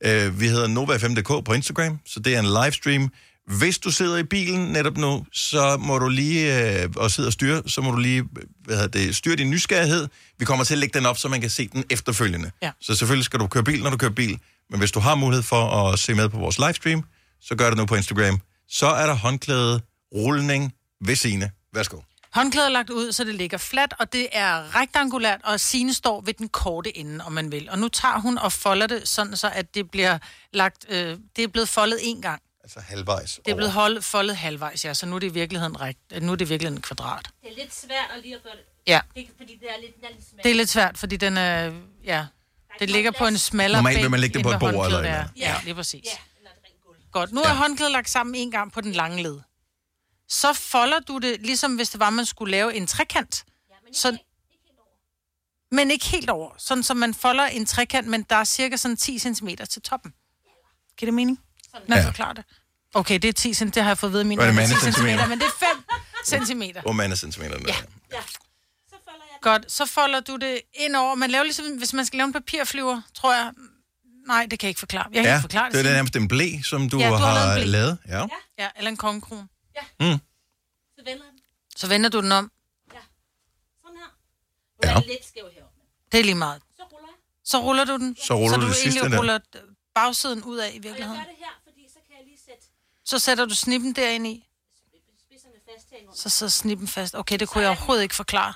Speaker 1: Uh, vi hedder Nova5.dk på Instagram, så det er en livestream. Hvis du sidder i bilen netop nu, så må du lige, øh, og sidder og styrer, så må du lige hvad hedder det, styre din nysgerrighed. Vi kommer til at lægge den op, så man kan se den efterfølgende.
Speaker 3: Ja.
Speaker 1: Så selvfølgelig skal du køre bil, når du kører bil. Men hvis du har mulighed for at se med på vores livestream, så gør det nu på Instagram. Så er der håndklæde, rulning ved sine. Værsgo.
Speaker 3: Håndklæder er lagt ud, så det ligger fladt, og det er rektangulært, og Signe står ved den korte ende, om man vil. Og nu tager hun og folder det, sådan så, at det bliver lagt, øh, det er blevet foldet en gang.
Speaker 1: Altså halvvejs.
Speaker 3: Det er blevet hold, foldet halvvejs, ja, så nu er det i virkeligheden, rekt, nu er det i virkeligheden et kvadrat.
Speaker 4: Det er lidt svært at lige at gøre det.
Speaker 3: Ja.
Speaker 4: Det, er- fordi det er lidt, den er lidt smal.
Speaker 3: Det er lidt svært, fordi den er, ja, det ligger på en smallere
Speaker 1: Normalt vil
Speaker 3: bænk,
Speaker 1: man lægge det
Speaker 3: end
Speaker 1: på
Speaker 3: hvad
Speaker 1: et bord eller
Speaker 3: håndklædet
Speaker 1: et
Speaker 3: er.
Speaker 1: eller andet.
Speaker 3: Ja,
Speaker 1: Ja.
Speaker 3: lige præcis. Godt, nu er håndklædet lagt sammen en gang på den lange led. Så folder du det, ligesom hvis det var, man skulle lave en trekant. Så, men ikke helt over. Sådan, så man folder en trekant, men der er cirka sådan 10 cm til toppen. Giver det mening? Når jeg
Speaker 1: Ja.
Speaker 3: forklarer det. Okay, det er 10 cm, det har jeg fået at vide af min.
Speaker 1: Hvad er det,
Speaker 3: mand. 10
Speaker 1: mandecentimeter?
Speaker 3: centimeter, Men det er 5 cm.
Speaker 1: Hvor mange centimeter den er.
Speaker 3: Godt, så folder du det ind over. Man laver ligesom, hvis man skal lave en papirflyver, tror jeg. Nej, det kan jeg ikke forklare. Jeg kan
Speaker 1: ja,
Speaker 3: ikke forklare det.
Speaker 1: det er
Speaker 3: Signe.
Speaker 1: nærmest en blæ, som du,
Speaker 3: Ja, du har lavet en
Speaker 1: har
Speaker 3: ble.
Speaker 1: lavet. Ja.
Speaker 3: Ja, eller en kongekron.
Speaker 1: ja. Mm.
Speaker 4: Så vender den.
Speaker 3: Så vender du den om.
Speaker 4: Nu er den lidt skæv heroppe.
Speaker 3: Det er lige meget. Så ruller du den.
Speaker 1: Så ruller
Speaker 3: så
Speaker 1: du
Speaker 3: du
Speaker 1: det sidste
Speaker 3: egentlig
Speaker 1: der.
Speaker 3: ruller bagsiden ud af i virkeligheden. Og jeg gør det her, fordi så kan jeg lige sætte... Så sætter du snippen derinde i. Så sidder snippen fast. Okay, det kunne jeg overhovedet ikke forklare.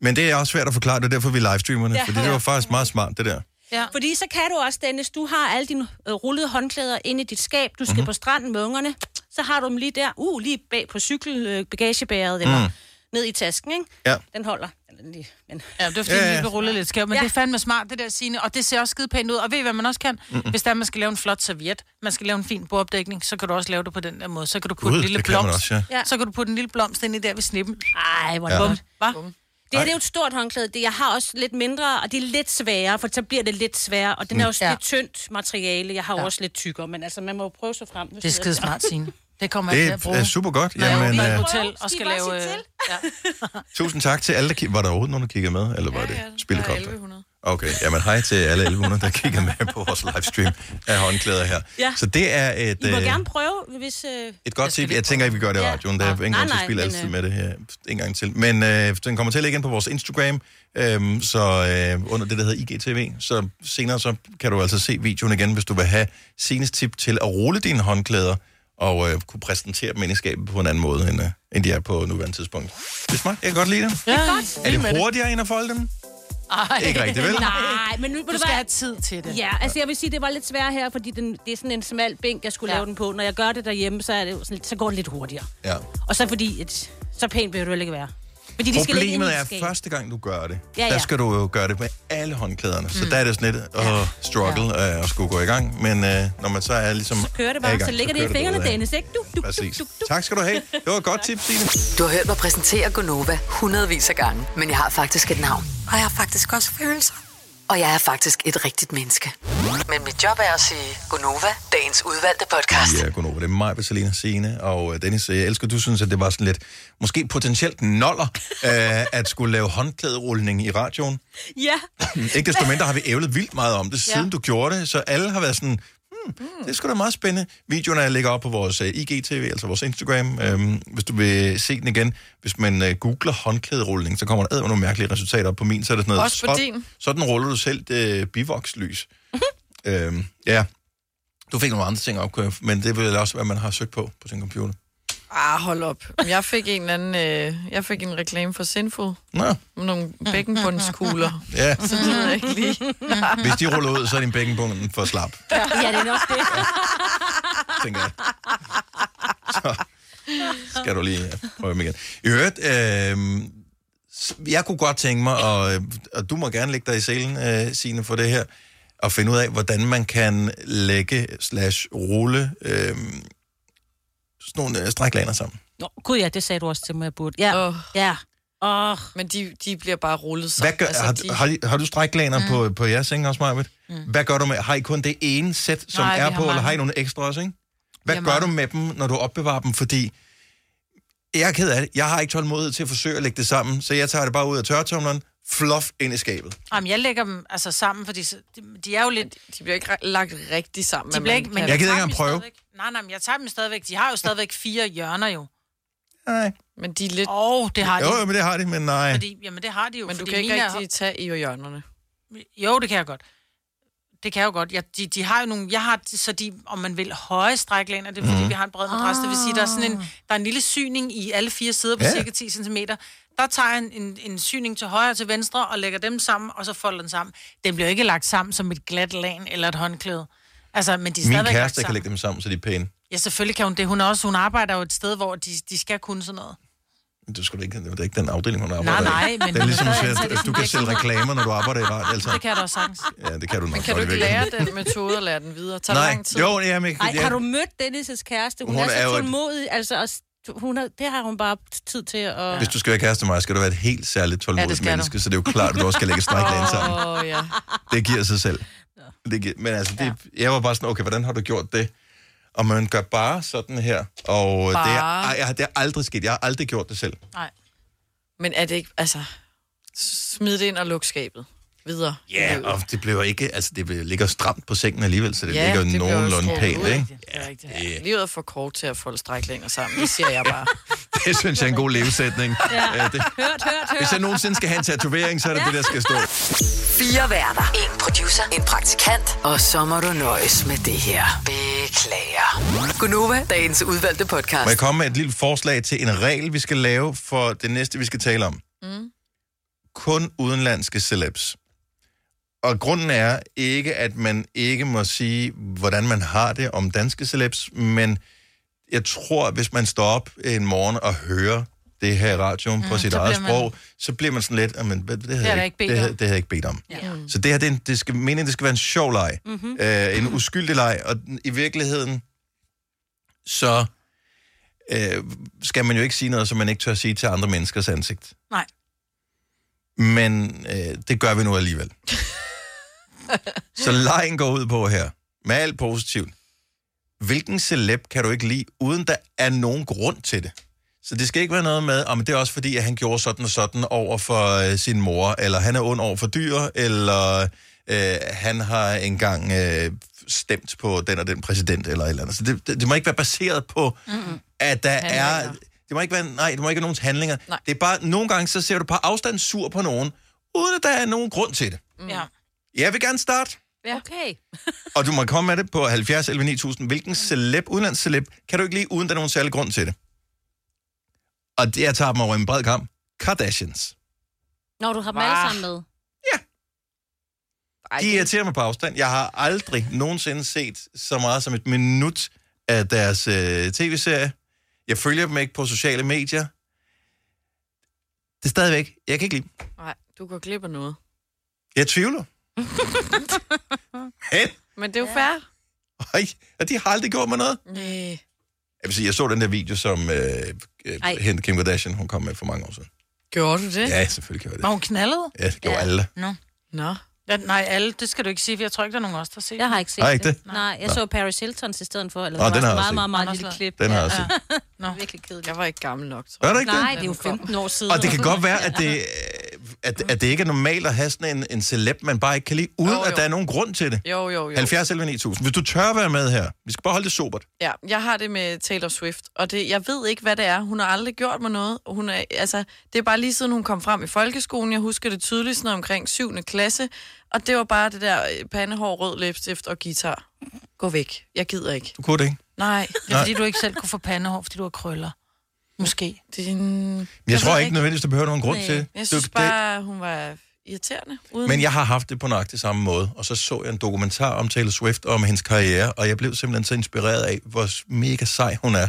Speaker 1: Men det er også svært at forklare, det er derfor, vi livestreamer det,
Speaker 4: Ja.
Speaker 1: ja. fordi det var faktisk meget smart, det der.
Speaker 4: Ja. Fordi så kan du også, Dennis, du har alle dine øh, rullede håndklæder inde i dit skab, du
Speaker 1: Mhm.
Speaker 4: skal mm-hmm. på stranden med ungerne, så har du dem lige der, uh, lige bag på cykelbagagebæret, øh, eller mm.
Speaker 3: Mm.
Speaker 4: ned i tasken, ikke?
Speaker 1: Ja.
Speaker 4: Den holder. Eller den lige, men...
Speaker 3: Ja, det var fordi,
Speaker 4: Ja,
Speaker 3: ja,
Speaker 4: ja.
Speaker 3: ja. blev rullet lidt skævt, men ja. det er fandme smart, det der sine, og det ser også skide pænt ud. Og ved I, hvad man også kan? Mm-mm. Hvis der er, man skal lave en flot serviet, man skal lave en fin bordopdækning, så kan du også lave det på den der måde. Så kan du putte
Speaker 1: Gud,
Speaker 3: en lille
Speaker 1: det kan man
Speaker 3: blomst,
Speaker 1: også, ja.
Speaker 3: ja. så kan du putte en lille blomst ind i der ved snippen.
Speaker 4: Ej, hvor
Speaker 1: Ja.
Speaker 4: ja.
Speaker 1: Bum.
Speaker 3: Hva?
Speaker 4: Det her det er jo et stort håndklæde. Det, jeg har også lidt mindre, og det er lidt sværere, for så bliver det lidt sværere. Og den er jo
Speaker 3: Mm.
Speaker 4: sådan
Speaker 3: Ja.
Speaker 4: lidt tyndt materiale. Jeg har jo også lidt tykkere, men altså, man må jo prøve sig frem.
Speaker 3: Det er skide smart, Signe. Det kommer jeg til at
Speaker 1: Det
Speaker 3: bruge.
Speaker 1: er super godt.
Speaker 3: Når jeg
Speaker 1: Jamen,
Speaker 3: åbner et
Speaker 1: øh,
Speaker 3: hotel og skal lave... øh, Ja.
Speaker 1: tusind tak til alle, der kigger. Var der overhovedet nogen, der kiggede med, eller var det spillekonto? Okay, jamen hej til alle 1100, der kigger med på vores livestream af håndklæder her.
Speaker 4: Ja.
Speaker 1: Så det er et,
Speaker 4: I må
Speaker 1: øh,
Speaker 4: gerne prøve, hvis... Øh...
Speaker 1: et godt tip. Jeg tænker ikke, vi gør det i radioen. Der er ingen
Speaker 4: Ah, Nej,
Speaker 1: grund til at
Speaker 4: nej,
Speaker 1: spille
Speaker 4: men,
Speaker 1: altid
Speaker 4: øh,
Speaker 1: med det her. En gang til. Men øh, den kommer til at ligge ind på vores Instagram, øhm, så øh, under det, der hedder IGTV. Så senere så kan du altså se videoen igen, hvis du vil have senest tip til at rulle dine håndklæder og øh, kunne præsentere dem ind i skabet på en anden måde, end, øh, end de er på nuværende tidspunkt. Det er smart. Jeg kan godt lide dem.
Speaker 3: Ja,
Speaker 1: Er det hurtigere end at folde dem?
Speaker 3: Ej.
Speaker 1: Ikke rigtigt, vel?
Speaker 4: Nej, men nu
Speaker 3: Du skal have tid til det.
Speaker 4: Ja, altså jeg vil sige, det var lidt svært her, fordi den, det er sådan en smal bænk, jeg skulle ja. lave den på. Når jeg gør det derhjemme, så, er det jo sådan, lidt- så går det lidt hurtigere.
Speaker 1: Ja.
Speaker 4: Og så fordi, et, så pænt behøver det heller ikke være. Fordi de skal ligge inde i
Speaker 1: Problemet
Speaker 4: et
Speaker 1: er,
Speaker 4: skab.
Speaker 1: første gang du gør det,
Speaker 4: Ja,
Speaker 1: ja,
Speaker 4: ja.
Speaker 1: der skal du jo gøre det med alle håndklæderne. Så
Speaker 4: Mm.
Speaker 1: der er det sådan lidt at struggle og øh, at skulle gå i gang. Men øh, når man så er ligesom...
Speaker 4: Kører det
Speaker 1: er
Speaker 4: bare,
Speaker 1: i gang,
Speaker 4: så ligger det
Speaker 1: kører
Speaker 4: i fingrene,
Speaker 1: derudad.
Speaker 4: Dennis, ikke? Du, du,
Speaker 1: Præcis. Tak skal du have. Det var et godt tip, Signe.
Speaker 6: Du har hørt mig præsentere Gonova hundredvis af gange, men jeg har faktisk et navn.
Speaker 20: Og jeg har faktisk også følelser.
Speaker 6: Og jeg er faktisk et rigtigt menneske. Men mit job er at sige Gonova, dagens udvalgte podcast.
Speaker 1: Ja, godnova. Det er mig, Vaselina Signe og øh, Dennis. øh, Jeg elsker, du synes, at det var sådan lidt, måske potentielt noller, øh, at skulle lave håndklæderulning i radioen.
Speaker 4: Ja.
Speaker 1: Ikke desto mindre har vi ævlet vildt meget om det, siden
Speaker 4: Ja.
Speaker 1: ja. du gjorde det. Så alle har været sådan, hmm, Det er sgu da meget spændende. Videoen er ligger op på vores øh, IGTV, altså vores Instagram. Øhm, hvis du vil se den igen, hvis man øh, googler håndklæderulning, så kommer der æder nogle mærkelige resultater op på min. Så er det sådan noget,
Speaker 2: Også på din?
Speaker 1: sådan ruller du selv øh, bivokslys. øhm, ja. Du fik nogle andre ting op, men det vil også være, man har søgt på på sin computer.
Speaker 2: Ah, hold op. Jeg fik en eller anden, øh, jeg fik en reklame for Sinful.
Speaker 1: Nå.
Speaker 2: Med nogle bækkenbundskugler.
Speaker 1: Ja.
Speaker 2: Så det ved jeg ikke lige.
Speaker 1: Hvis de ruller ud, så er din bækkenbunden for slap,
Speaker 4: Ja, det er nok det.
Speaker 1: tænker jeg. Så skal du lige øh, prøve dem igen. I øvrigt, øh, s- jeg kunne godt tænke mig, og, øh, og du må gerne lægge dig i selen, øh, Signe, for det her, og finde ud af, hvordan man kan lægge slash rulle øh, sådan nogle øh, stræklaner sammen.
Speaker 4: Nå, gud ja, det sagde du også til mig, jeg burde. Ja, oh. ja. Oh.
Speaker 2: Men de, de bliver bare rullet
Speaker 1: Hvad gør, har,
Speaker 2: Altså, de-
Speaker 1: har, I- har du stræklaner mm. på, på jeres seng også, Marvitt? Mm. Hvad gør du med? Har I kun det ene sæt, som
Speaker 2: Nej,
Speaker 1: Nej,
Speaker 2: vi
Speaker 1: er
Speaker 2: har
Speaker 1: på, eller
Speaker 2: mange.
Speaker 1: har I nogle ekstra også, ikke? Hvad gør du med dem, når du opbevarer dem? Fordi jeg er ked af det. Jeg har ikke tålmodighed til at forsøge at lægge det sammen, så jeg tager det bare ud af tørretumleren, fluff ind i skabet.
Speaker 3: Jamen, jeg lægger dem altså sammen, fordi så- de, de er jo lidt...
Speaker 2: De bliver ikke lagt rigtig sammen.
Speaker 3: De
Speaker 2: men
Speaker 3: bliver
Speaker 2: man
Speaker 3: ikke, men
Speaker 2: kan-
Speaker 1: Jeg gider
Speaker 3: tager
Speaker 1: ikke engang
Speaker 3: dem
Speaker 1: prøve.
Speaker 3: stadigvæk. Nej, nej, men jeg tager dem stadigvæk. De har jo stadigvæk fire hjørner jo.
Speaker 1: Nej.
Speaker 2: Men de er lidt...
Speaker 3: Åh, oh, det har de.
Speaker 1: Jo, jo, men det har de, men nej.
Speaker 3: Fordi, jamen, det har de jo.
Speaker 2: Men du
Speaker 3: fordi
Speaker 2: kan ikke
Speaker 3: mine er-
Speaker 2: rigtig tage i hjørnerne.
Speaker 3: Jo, det kan jeg godt. Det kan jeg jo godt. Jeg, de, de har jo nogle, jeg har så de, om man vil, høje stræklæner. Det er fordi,
Speaker 5: Mhm.
Speaker 3: mm. vi har en bred madras. Det vil sige, der er sådan en,
Speaker 5: Ah.
Speaker 3: der er en lille syning i alle fire sider på
Speaker 5: Ja.
Speaker 3: ja. cirka 10 cm. Der tager jeg en, en, en syning til højre og til venstre og lægger dem sammen, og så folder den sammen. Den bliver jo ikke lagt sammen som et glat lagen eller et håndklæde. Altså, men de er
Speaker 1: Min
Speaker 3: stadigvæk lagt
Speaker 1: kæreste kan
Speaker 3: sammen.
Speaker 1: lægge dem sammen, så de er pæne.
Speaker 3: Ja, selvfølgelig kan hun det. Hun, er også, hun arbejder jo et sted, hvor de, de skal kunne sådan noget.
Speaker 1: Men Det er, sgu da ikke, det er da ikke den afdeling, hun
Speaker 3: Nej,
Speaker 1: arbejder
Speaker 3: nej,
Speaker 1: i.
Speaker 3: men
Speaker 1: Det er ligesom at, sige,
Speaker 3: stadig, så er det
Speaker 1: at, at du
Speaker 3: sådan
Speaker 1: kan
Speaker 3: lidt-
Speaker 1: sælge reklamer, når du arbejder i radio. Altså,
Speaker 3: Det kan jeg da også sagtens.
Speaker 1: ja, det kan du nok.
Speaker 2: Men kan du
Speaker 1: godt i
Speaker 2: ikke lære
Speaker 1: virkeligheden.
Speaker 2: den metode og lære den videre? Tager det
Speaker 1: Nej.
Speaker 2: lang tid?
Speaker 1: Jo, ja, men
Speaker 4: Ej, har du mødt Dennis' kæreste? Hun,
Speaker 1: Hun
Speaker 4: hun er,
Speaker 1: er jo
Speaker 4: så
Speaker 1: et-
Speaker 4: tålmodig. Altså, og s- hun er, det har hun bare tid til at...
Speaker 1: Hvis du skal være kæreste med mig, skal du være et helt særligt
Speaker 4: Ja, det
Speaker 1: tålmodigt
Speaker 4: skal
Speaker 1: ja,
Speaker 4: du.
Speaker 1: menneske, så det er jo klart, at du også skal lægge stræklagen sammen.
Speaker 2: Åh, oh, ja.
Speaker 1: Det giver sig selv. Det giver, men altså, det, jeg var bare sådan, okay, hvordan har du gjort det? Og man gør bare sådan her. Og Det, er,
Speaker 2: Bare?
Speaker 1: ej, jeg har- det er aldrig sket. Jeg har aldrig gjort det selv.
Speaker 3: Nej.
Speaker 2: Men er det ikke, altså... Smid det ind og luk skabet. Videre.
Speaker 1: Ja, yeah, og det bliver ikke, altså det bliver, ligger stramt på sengen alligevel, så det
Speaker 2: Ja,
Speaker 1: ja, ligger
Speaker 2: det
Speaker 1: det
Speaker 2: bliver jo
Speaker 1: nogenlunde
Speaker 2: skruet
Speaker 1: pænt,
Speaker 2: ud,
Speaker 1: ikke?
Speaker 3: Ja, det
Speaker 1: er rigtigt.
Speaker 2: Livet er for kort til at folde stræklænger sammen. Det siger jeg bare.
Speaker 1: Det synes jeg er en god levesætning. Ja, det,
Speaker 4: Hørt, hørt, hørt.
Speaker 1: hvis jeg nogensinde skal have en tatovering, så er det det, der skal stå.
Speaker 6: Fire værter. En producer. En praktikant. Og så må du nøjes med det her. Beklager. Gunova, dagens udvalgte podcast.
Speaker 1: Må jeg komme med et lille forslag til en regel, vi skal lave for det næste, vi skal tale om?
Speaker 6: Mm.
Speaker 1: kun udenlandske celebs. Og grunden er ikke, at man ikke må sige, hvordan man har det om danske celebs, men jeg tror, at hvis man står op en morgen og hører det her i radioen mm, på
Speaker 3: Mm,
Speaker 1: sit
Speaker 3: så
Speaker 1: eget
Speaker 3: bliver man-
Speaker 1: sprog, så bliver man sådan lidt, "Jamen, hvad- det
Speaker 3: har
Speaker 1: havde,
Speaker 3: jeg
Speaker 1: jeg
Speaker 3: ikke
Speaker 1: ikke,
Speaker 3: bedt
Speaker 1: det, havde,
Speaker 3: om."
Speaker 1: det havde jeg ikke bedt om.
Speaker 3: Ja.
Speaker 1: Så det her, det, er en, det skal, meningen det skal være en sjov leg.
Speaker 3: Mhm.
Speaker 1: Mm-hmm. Øh, en uskyldig leg, og den, i virkeligheden, så øh, skal man jo ikke sige noget, som man ikke tør sige til andre menneskers ansigt.
Speaker 3: Nej.
Speaker 1: Men øh, det gør vi nu alligevel. Så lejen går ud på her, med alt positivt. Hvilken celeb kan du ikke lide, uden der er nogen grund til det? Så det skal ikke være noget med, om det er også fordi, at han gjorde sådan og sådan over for øh, sin mor, eller han er ond over for dyr, eller øh, han har engang øh, stemt på den og den præsident, eller et eller andet. Så det, det, det må ikke være baseret på,
Speaker 2: Mm-mm.
Speaker 1: at der
Speaker 2: Handlinger.
Speaker 1: er... Det må ikke være, nej, det må ikke være nogens handlinger.
Speaker 2: Nej.
Speaker 1: Det er bare, nogle gange så ser du på afstand sur på nogen, uden at der er nogen grund til det.
Speaker 3: Ja.
Speaker 1: Jeg vil gerne starte,
Speaker 4: Ja. Okay.
Speaker 1: og du må komme med det på 70 11 9000. Hvilken celeb, udenlandsceleb, kan du ikke lide, uden der er nogen særlig grund til det? Og det, jeg tager dem over en bred kamp. Kardashians.
Speaker 4: Når du har dem alle sammen med.
Speaker 1: De irriterer mig på afstand. Jeg har aldrig nogensinde set så meget som et minut af deres øh, tv-serie. Jeg følger dem ikke på sociale medier. Det er stadigvæk. Jeg kan ikke lide dem.
Speaker 2: Nej, du går glip af noget.
Speaker 1: Jeg tvivler. Men
Speaker 2: Men det er jo ja. fair.
Speaker 1: Ej, og de har aldrig gjort mig noget.
Speaker 2: Nej.
Speaker 1: Jeg vil sige, jeg så den der video, som øh, øh,
Speaker 3: Ej.
Speaker 1: hende Kim Kardashian, hun kom med for mange år siden.
Speaker 2: Gjorde du det?
Speaker 1: Ja, selvfølgelig gjorde jeg
Speaker 3: Var hun knaldet?
Speaker 1: det. Ja, det gjorde ja. alle.
Speaker 3: Nå.
Speaker 2: Nå.
Speaker 3: Ja, nej, alle, det skal du ikke sige, for jeg tror ikke, der er nogen af os, der har set
Speaker 4: Jeg har ikke set
Speaker 1: Har I ikke det?
Speaker 4: Nej, jeg
Speaker 1: Nå.
Speaker 4: så Paris Hiltons i stedet for. Eller
Speaker 1: Nå,
Speaker 4: det var
Speaker 1: den har jeg
Speaker 4: et meget,
Speaker 1: set.
Speaker 4: meget, meget,
Speaker 1: Anders
Speaker 4: lille
Speaker 1: Lav.
Speaker 4: klip.
Speaker 1: Den har jeg
Speaker 4: Ja.
Speaker 1: set.
Speaker 2: Nå. Virkelig kedeligt. Jeg var ikke gammel nok, tror
Speaker 1: Var du ikke
Speaker 4: Nej,
Speaker 1: det?
Speaker 4: det er jo 15 år siden.
Speaker 1: Og det kan godt være, at det øh, at, at det ikke er normalt at have sådan en, en celeb, man bare ikke kan lide, uden jo, jo. at der er nogen grund til det.
Speaker 2: Jo, jo, jo.
Speaker 1: 70 11 9000. Hvis du tør være med her, vi skal bare holde det sobert.
Speaker 2: Ja, jeg har det med Taylor Swift, og det, jeg ved ikke, hvad det er. Hun har aldrig gjort mig noget. Hun er, altså, det er bare lige siden, hun kom frem i folkeskolen. Jeg husker det tydeligt, sådan omkring 7. klasse. Og det var bare det der øh, pandehår, rød læbstift og guitar. Gå væk. Jeg gider ikke.
Speaker 1: Du kunne det ikke?
Speaker 2: Nej.
Speaker 3: Det er, fordi du ikke selv kunne få pandehår, fordi du har krøller. Måske.
Speaker 2: Din...
Speaker 1: Men jeg, tror ikke nødvendigvis, der behøver nogen grund til det. Øh,
Speaker 2: Jeg
Speaker 1: Du-
Speaker 2: synes
Speaker 1: det-
Speaker 2: bare, hun var irriterende. Uden...
Speaker 1: Men jeg har haft det på nøjagtig samme måde, og så så jeg en dokumentar om Taylor Swift og om hendes karriere, og jeg blev simpelthen så inspireret af, hvor mega sej hun er,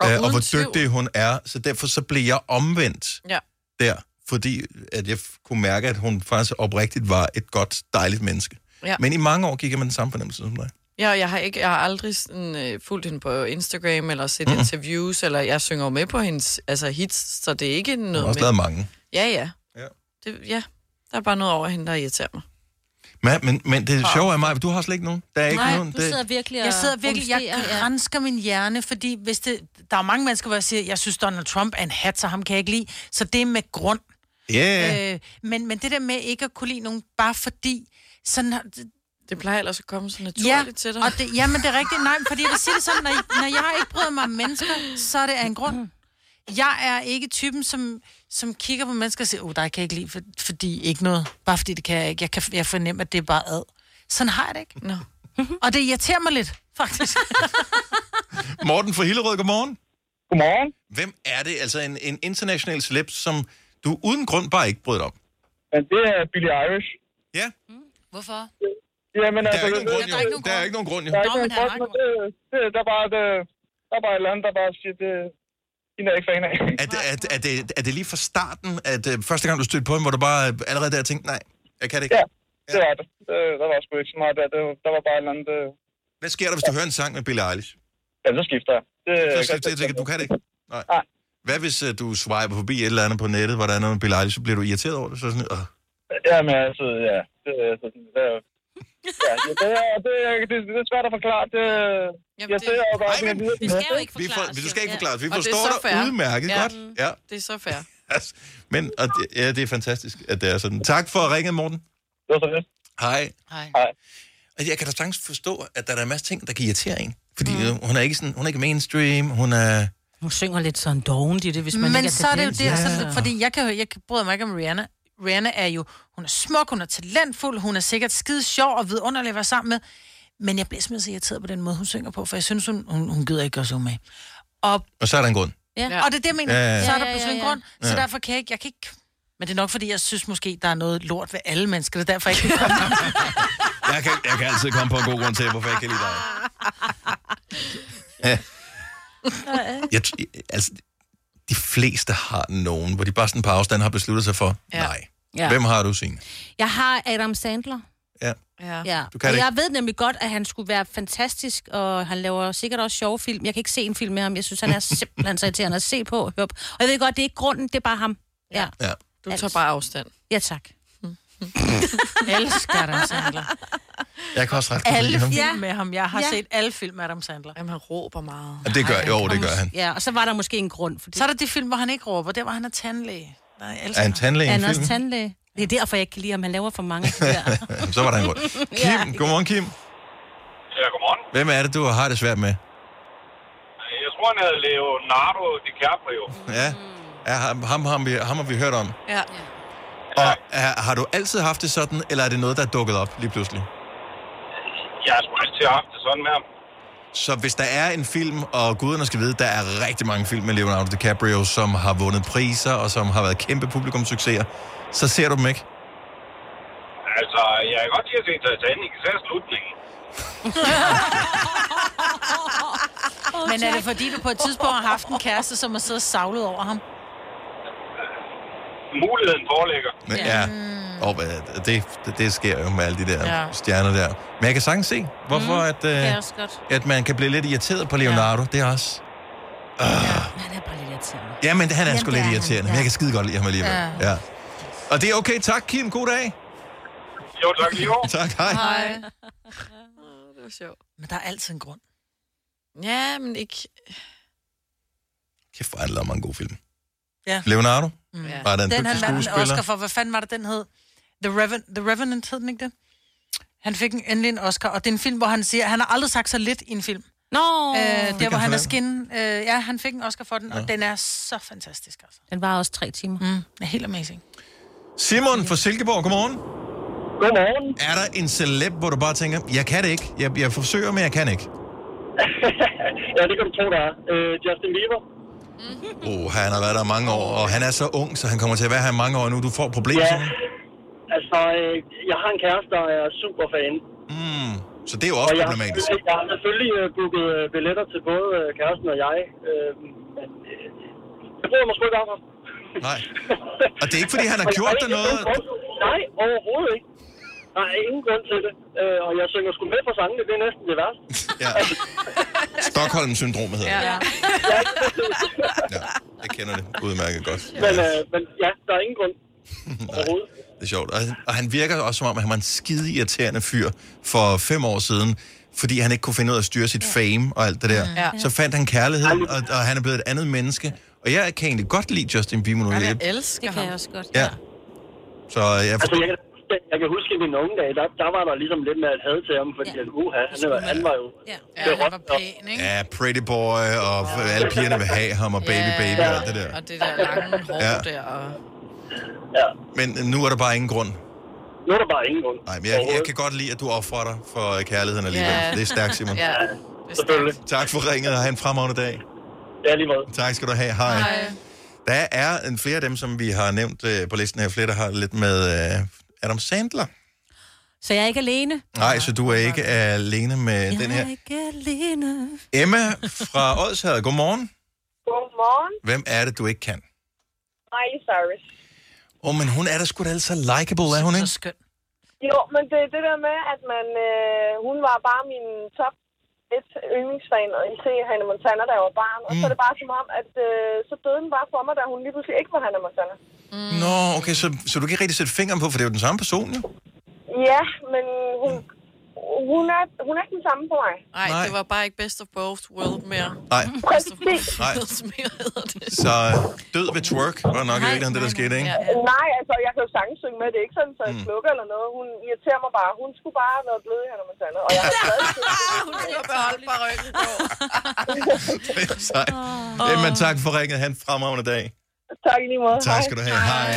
Speaker 2: Og
Speaker 1: øh, og
Speaker 2: uden
Speaker 1: hvor
Speaker 2: tvivl.
Speaker 1: dygtig hun er. Så derfor så blev jeg omvendt
Speaker 2: Ja.
Speaker 1: der, fordi at jeg f- kunne mærke, at hun faktisk oprigtigt var et godt, dejligt menneske.
Speaker 2: Ja.
Speaker 1: Men i mange år gik jeg med den samme fornemmelse som dig.
Speaker 2: Ja, og jeg har, ikke, jeg har aldrig sådan, øh, fulgt hende på Instagram, eller set
Speaker 1: Mm.
Speaker 2: mm. interviews, eller jeg synger jo med på hendes altså, hits, så det er ikke noget
Speaker 1: Hun har også
Speaker 2: med-
Speaker 1: lavet mange.
Speaker 2: Ja, ja.
Speaker 1: Ja.
Speaker 2: Det, ja. Der er bare noget over hende, der irriterer mig.
Speaker 1: Men, men, men det sjove er mig, du har slet ikke nogen. Der er ikke nogen. det...
Speaker 4: virkelig
Speaker 3: Jeg
Speaker 4: og
Speaker 3: sidder virkelig, jeg
Speaker 4: rumsterer, ja.
Speaker 3: grænsker min hjerne, fordi hvis det, der er mange mennesker, hvor jeg siger, jeg synes, Donald Trump er en hat, så ham kan jeg ikke lide. Så det er med grund.
Speaker 1: Ja.
Speaker 3: Øh, men, men det der med ikke at kunne lide nogen, bare fordi... Sådan, har-
Speaker 2: Det plejer ellers at komme så naturligt
Speaker 3: ja,
Speaker 2: til dig.
Speaker 3: Og det, ja, men det er rigtigt. Nej, men fordi jeg vil sige det sådan, når, når jeg ikke bryder mig om mennesker, så er det af en grund. Jeg er ikke typen, som, som kigger på mennesker og siger, åh, oh, dig kan jeg ikke lide, for, fordi ikke noget. Bare fordi det kan jeg ikke. Jeg, kan, jeg fornemmer, at det er bare ad. Sådan har jeg det ikke.
Speaker 2: No.
Speaker 3: Og det irriterer mig lidt, faktisk.
Speaker 1: Morten fra Hillerød, godmorgen.
Speaker 21: Godmorgen.
Speaker 1: Hvem er det? Altså en, en international celeb, som du uden grund bare ikke bryder dig om.
Speaker 21: Men det er Billie Eilish.
Speaker 1: Ja.
Speaker 3: Hvorfor?
Speaker 21: Jamen,
Speaker 1: Der er
Speaker 21: altså,
Speaker 1: ikke nogen
Speaker 21: det-
Speaker 1: grund, jo. Der er ikke nogen grund, jo.
Speaker 21: Der er ikke
Speaker 1: Nå,
Speaker 21: nogen
Speaker 1: men han
Speaker 21: grund, men øh, det, det, der er bare, det,
Speaker 7: øh,
Speaker 21: der er bare et eller andet, der bare siger, det, hende er jeg ikke fan af.
Speaker 1: Er det, er, er, det, er det lige fra starten, at uh, første gang du stødte på ham, hvor du bare øh, allerede der tænkte, nej, jeg kan det ikke?
Speaker 21: Ja, det var det. det der var sgu ikke så meget der. Det, der var bare et eller andet...
Speaker 17: øh,
Speaker 21: Det...
Speaker 1: Hvad sker der, hvis du hører en sang med Billie Eilish?
Speaker 21: Ja, så skifter jeg. Det,
Speaker 1: Så skifter jeg til, du kan det ikke? Nej. Hvad hvis uh, du swiper forbi et eller andet på nettet, hvor der er noget med Billie Eilish, så bliver du irriteret over det? Så er sådan, uh,
Speaker 21: Jamen, altså, ja. Det, altså, det, er- ja, det, det, er- det, er- det, det, er svært at forklare. Det,
Speaker 7: øh,
Speaker 21: Jamen, jeg ser jo bare...
Speaker 2: Ej, men det skal jo ikke
Speaker 1: vi for,
Speaker 2: forklares,
Speaker 1: du
Speaker 2: jo.
Speaker 1: skal ikke
Speaker 2: Ja.
Speaker 1: forklare Vi
Speaker 2: Og det er
Speaker 1: forstår
Speaker 2: så
Speaker 1: dig
Speaker 2: fair.
Speaker 1: udmærket
Speaker 2: Ja.
Speaker 1: godt. Ja.
Speaker 2: Det er så fair.
Speaker 1: Altså, men og det, ja, det er fantastisk, at det er sådan. Tak for at ringe, Morten.
Speaker 21: Det var så lidt.
Speaker 1: Hej.
Speaker 3: Hej.
Speaker 1: Og Altså, jeg kan da sagtens forstå, at der er en masse ting, der kan irritere en. Fordi mm. hun er ikke sådan, hun er ikke mainstream, hun er...
Speaker 4: Hun synger lidt sådan dovent i det, hvis man
Speaker 3: Men
Speaker 4: ikke
Speaker 3: så er det jo det,
Speaker 4: til dans.
Speaker 3: sådan, fordi jeg, kan, jeg bryder mig ikke om Rihanna. Rihanna er jo, hun er smuk, hun er talentfuld, hun er sikkert skide sjov og vidunderlig at være sammen med. Men jeg bliver simpelthen så irriteret på den måde, hun synger på, for jeg synes, hun, hun, hun gider ikke at synge med. Og,
Speaker 1: Og så er der en grund.
Speaker 3: ja. og det er det, jeg mener.
Speaker 1: Ja,
Speaker 3: Ja,
Speaker 1: ja,
Speaker 3: ja,
Speaker 1: ja.
Speaker 3: Så er der
Speaker 4: Ja, ja,
Speaker 3: pludselig en
Speaker 4: ja, ja.
Speaker 3: grund, så
Speaker 1: Ja.
Speaker 3: derfor kan jeg ikke, jeg kan ikke... Men det er nok, fordi jeg synes måske, der er noget lort ved alle mennesker. Det er derfor, jeg ikke kan komme
Speaker 1: Jeg kan, jeg kan altid komme på en god grund til, hvorfor jeg kan lide dig. Ja. Jeg, t- altså, de fleste har nogen, hvor de bare sådan på afstand har besluttet sig for,
Speaker 4: Ja.
Speaker 1: nej.
Speaker 4: Ja.
Speaker 1: Hvem har du, Signe?
Speaker 4: Jeg har Adam Sandler.
Speaker 1: Ja.
Speaker 2: Ja.
Speaker 4: ja.
Speaker 1: Du kan
Speaker 4: og
Speaker 1: det
Speaker 4: jeg ved nemlig godt, at han skulle være fantastisk, og han laver sikkert også sjove film. Jeg kan ikke se en film med ham. Jeg synes, han er simpelthen så irriterende at se på. og høre på. Og jeg ved godt, det er ikke grunden, det er bare ham. Ja.
Speaker 1: Ja.
Speaker 2: Du tager bare afstand.
Speaker 4: Ja, tak.
Speaker 3: Elsker Adam Sandler.
Speaker 1: Jeg kan også ret godt lide
Speaker 3: Alle
Speaker 1: ham.
Speaker 3: film med ham. Jeg har
Speaker 4: Ja.
Speaker 3: set alle film med Adam Sandler.
Speaker 2: Jamen, han råber meget.
Speaker 1: Og det gør, jo, det gør han.
Speaker 4: Ja, og så var der måske en grund. Fordi...
Speaker 3: Så er der de film, hvor han ikke råber. Der var han er tandlæge. Nej, jeg elsker
Speaker 1: Er han
Speaker 3: ham.
Speaker 1: tandlæge i en
Speaker 4: Han er også
Speaker 1: film?
Speaker 4: tandlæge. Det er derfor, jeg ikke kan lide ham. Han laver for mange. Ja.
Speaker 1: så var der en grund. Kim,
Speaker 4: Ja.
Speaker 1: godmorgen, Kim.
Speaker 22: Ja, godmorgen.
Speaker 1: Hvem er det, du har det svært med?
Speaker 22: Jeg tror, han havde Leonardo DiCaprio.
Speaker 1: Ja, ja ham, ham, ham, vi- ham har vi hørt om.
Speaker 2: Ja.
Speaker 1: Og er, har du altid haft det sådan, eller er det noget, der er dukket op lige pludselig?
Speaker 22: Jeg har sgu altid haft det sådan med ham.
Speaker 1: Så hvis der er en film, og guderne skal vide, der er rigtig mange film med Leonardo DiCaprio, som har vundet priser, og som har været kæmpe publikumssucceser, så ser du dem ikke.
Speaker 22: Altså, jeg kan godt lide at se Titanic, især slutningen.
Speaker 3: Men er det fordi, du på et tidspunkt har haft en kæreste, som har siddet og savlet over ham?
Speaker 22: Muligheden foreligger.
Speaker 1: Men, ja. Og hvad er det, det, det, det sker jo med alle de der ja.
Speaker 22: Ja.
Speaker 1: stjerner der. Men jeg kan sagtens se, hvorfor
Speaker 4: Mm,
Speaker 1: at,
Speaker 4: det kan jeg
Speaker 1: øh,
Speaker 4: også godt.
Speaker 1: at man kan blive lidt irriteret på Leonardo. Ja. Det er også... Uh.
Speaker 4: Han er bare lidt irriterende.
Speaker 1: Ja, men han er
Speaker 4: Jamen,
Speaker 1: sgu
Speaker 4: det
Speaker 1: lidt
Speaker 4: er han,
Speaker 1: irriterende, men
Speaker 4: ja.
Speaker 1: jeg kan skide godt lide ham alligevel. Ja.
Speaker 4: Ja.
Speaker 1: ja. Og det er okay. Tak, Kim. God dag.
Speaker 22: Jo, tak lige
Speaker 1: Tak, hej.
Speaker 2: Hej. Åh, det var sjovt.
Speaker 3: Men der er altid en grund.
Speaker 2: Ja, men ikke...
Speaker 1: Kæft, hvor er der lavet mange gode film.
Speaker 3: Ja.
Speaker 1: Leonardo, Mm. Var der en
Speaker 3: den
Speaker 1: dygtig
Speaker 3: han vandt en
Speaker 1: skuespiller?
Speaker 3: Oscar for. Hvad fanden var det, den hed? The, Reven The Revenant hed den ikke det? Han fik en, endelig en Oscar, og det er en film, hvor han siger, han har aldrig sagt så lidt i en film.
Speaker 4: Nå!
Speaker 3: Øh,
Speaker 4: Fik
Speaker 3: der,
Speaker 4: han
Speaker 3: hvor han er
Speaker 4: for den?
Speaker 3: skin. Øh, ja, han fik en Oscar for den, ja.
Speaker 1: Nå.
Speaker 3: og den er så fantastisk. Altså.
Speaker 4: Den var også tre timer.
Speaker 3: Mm, den er helt amazing.
Speaker 1: Simon
Speaker 3: Mm.
Speaker 1: fra Silkeborg, godmorgen. Godmorgen. Er der en celeb, hvor du bare tænker, jeg kan det ikke, jeg, jeg forsøger, men jeg kan ikke?
Speaker 17: ja, det kan du tro, der er. Øh, Justin Bieber.
Speaker 1: Oh, han har været der mange år, og han er så ung, så han kommer til at være her i mange år nu. Du får problemer,
Speaker 17: Ja.
Speaker 1: ja.
Speaker 17: Altså, øh, jeg har en kæreste, der er super fan.
Speaker 1: mm, så det er jo også
Speaker 17: og jeg,
Speaker 1: problematisk.
Speaker 17: Jeg har selvfølgelig øh, booket øh, billetter til både øh, kæresten og jeg. Øh, men øh, jeg bryder mig sgu ikke om ham.
Speaker 1: Nej. Og det er ikke, fordi han har gjort dig noget?
Speaker 17: Nej, overhovedet ikke. Der er ingen grund til det. Øh, og jeg synger sgu med på sangene, det er næsten det værste.
Speaker 1: Ja. Stockholm-syndromet hedder ja. Jeg kender det udmærket godt.
Speaker 17: men, øh, men ja, der er ingen grund. Overhovedet.
Speaker 1: Det er sjovt. Og, og han virker også som om, at han var en skide irriterende fyr for fem år siden, fordi han ikke kunne finde ud af at styre sit fame og alt det der.
Speaker 2: Ja.
Speaker 1: Så fandt han kærligheden, og, og han er blevet et andet menneske. Og jeg kan egentlig godt lide Justin Bieber nu.
Speaker 2: Jeg
Speaker 1: Jeg,
Speaker 2: elsker det ham. Det kan jeg også godt.
Speaker 1: ja. Så jeg
Speaker 17: Altså, jeg, kan- jeg kan huske i mine unge dage, der, der var der ligesom lidt med at have til ham, fordi ja. at, uha, han, var, han var jo... Ja, han var pæn,
Speaker 1: Ja, Pretty Boy, og alle pigerne vil have ham, og Baby
Speaker 17: Ja.
Speaker 1: Baby og alt det der.
Speaker 2: Og det der lange hår
Speaker 1: Ja.
Speaker 2: ja. der. Og...
Speaker 1: Men nu er der bare ingen grund.
Speaker 17: Nu er der bare ingen grund.
Speaker 1: Nej, men jeg, jeg kan godt lide, at du offrer dig for kærligheden alligevel.
Speaker 2: Ja.
Speaker 1: Det er stærkt, Simon.
Speaker 2: Ja.
Speaker 1: Selvfølgelig. Tak for ringet, og have en fremragende dag.
Speaker 17: Ja, lige måde.
Speaker 1: Tak skal du have. Hej. Hej. Der er en flere af dem, som vi har nævnt øh, på listen her. Flere, der har lidt med øh, Adam Sandler.
Speaker 4: Så jeg er ikke alene.
Speaker 1: Nej, så du er ikke alene med
Speaker 4: jeg
Speaker 1: den
Speaker 4: er
Speaker 1: her.
Speaker 4: ikke alene.
Speaker 1: Emma fra Odsherred, godmorgen.
Speaker 23: Godmorgen.
Speaker 1: Hvem er det, du ikke kan?
Speaker 23: Miley Cyrus.
Speaker 1: Åh, oh, men hun er da sgu da altså likable, er hun ikke?
Speaker 3: skøn.
Speaker 23: Jo, men det er det der med, at man, øh, hun var bare min top et yndlingsfan, og I ser Hannah Montana, der var barn. Og så er det bare som om, at øh, så døde den bare for mig, da hun lige pludselig ikke var Hannah Montana.
Speaker 4: Mm.
Speaker 1: Nå, okay, så, så du kan ikke rigtig sætte fingeren på, for det er jo den samme person, jo.
Speaker 23: Ja, men hun, hun, er, hun er ikke den samme for mig.
Speaker 2: Nej, det var bare ikke best of both world mere.
Speaker 1: Nej.
Speaker 2: Best of both
Speaker 1: Nej.
Speaker 2: worlds mere hedder det.
Speaker 1: Så øh, død ved twerk var nok i virkeligheden det, der skete, ikke?
Speaker 23: Nej, altså, jeg kan jo sagtens synge med. Det er ikke sådan, så
Speaker 1: Mm.
Speaker 23: jeg slukker eller noget. Hun irriterer mig bare. Hun skulle bare have været blød i Hannah Montana. Og jeg har stadig
Speaker 2: Hun skal beholde barykken på.
Speaker 1: Sejt. Emma, tak for ringet. Han fremragende dag.
Speaker 23: Tak i lige måde.
Speaker 1: Tak skal du have. Hej.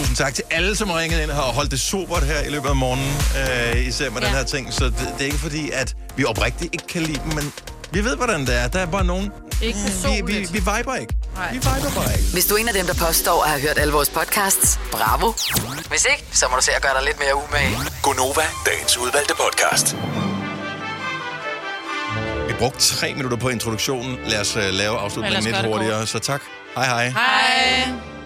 Speaker 1: Tusind tak til alle, som har ringet ind her og holdt det sobert her i løbet af morgenen, øh, især med ja. den her ting. Så det, det er ikke fordi, at vi oprigtigt ikke kan lide dem, men vi ved, hvordan det er. Der er bare nogen...
Speaker 6: Ikke
Speaker 1: vi, vi, vi viber ikke. Vi viber bare ikke.
Speaker 6: Hvis du er en af dem, der påstår at have hørt alle vores podcasts, bravo. Hvis ikke, så må du se at gøre dig lidt mere umage.
Speaker 8: Gonova, dagens udvalgte podcast.
Speaker 1: Vi brugte tre minutter på introduktionen. Lad os øh, lave afslutningen
Speaker 8: Ellers
Speaker 1: lidt
Speaker 8: gør det
Speaker 1: hurtigere, så tak. Hej hej.
Speaker 2: Hej.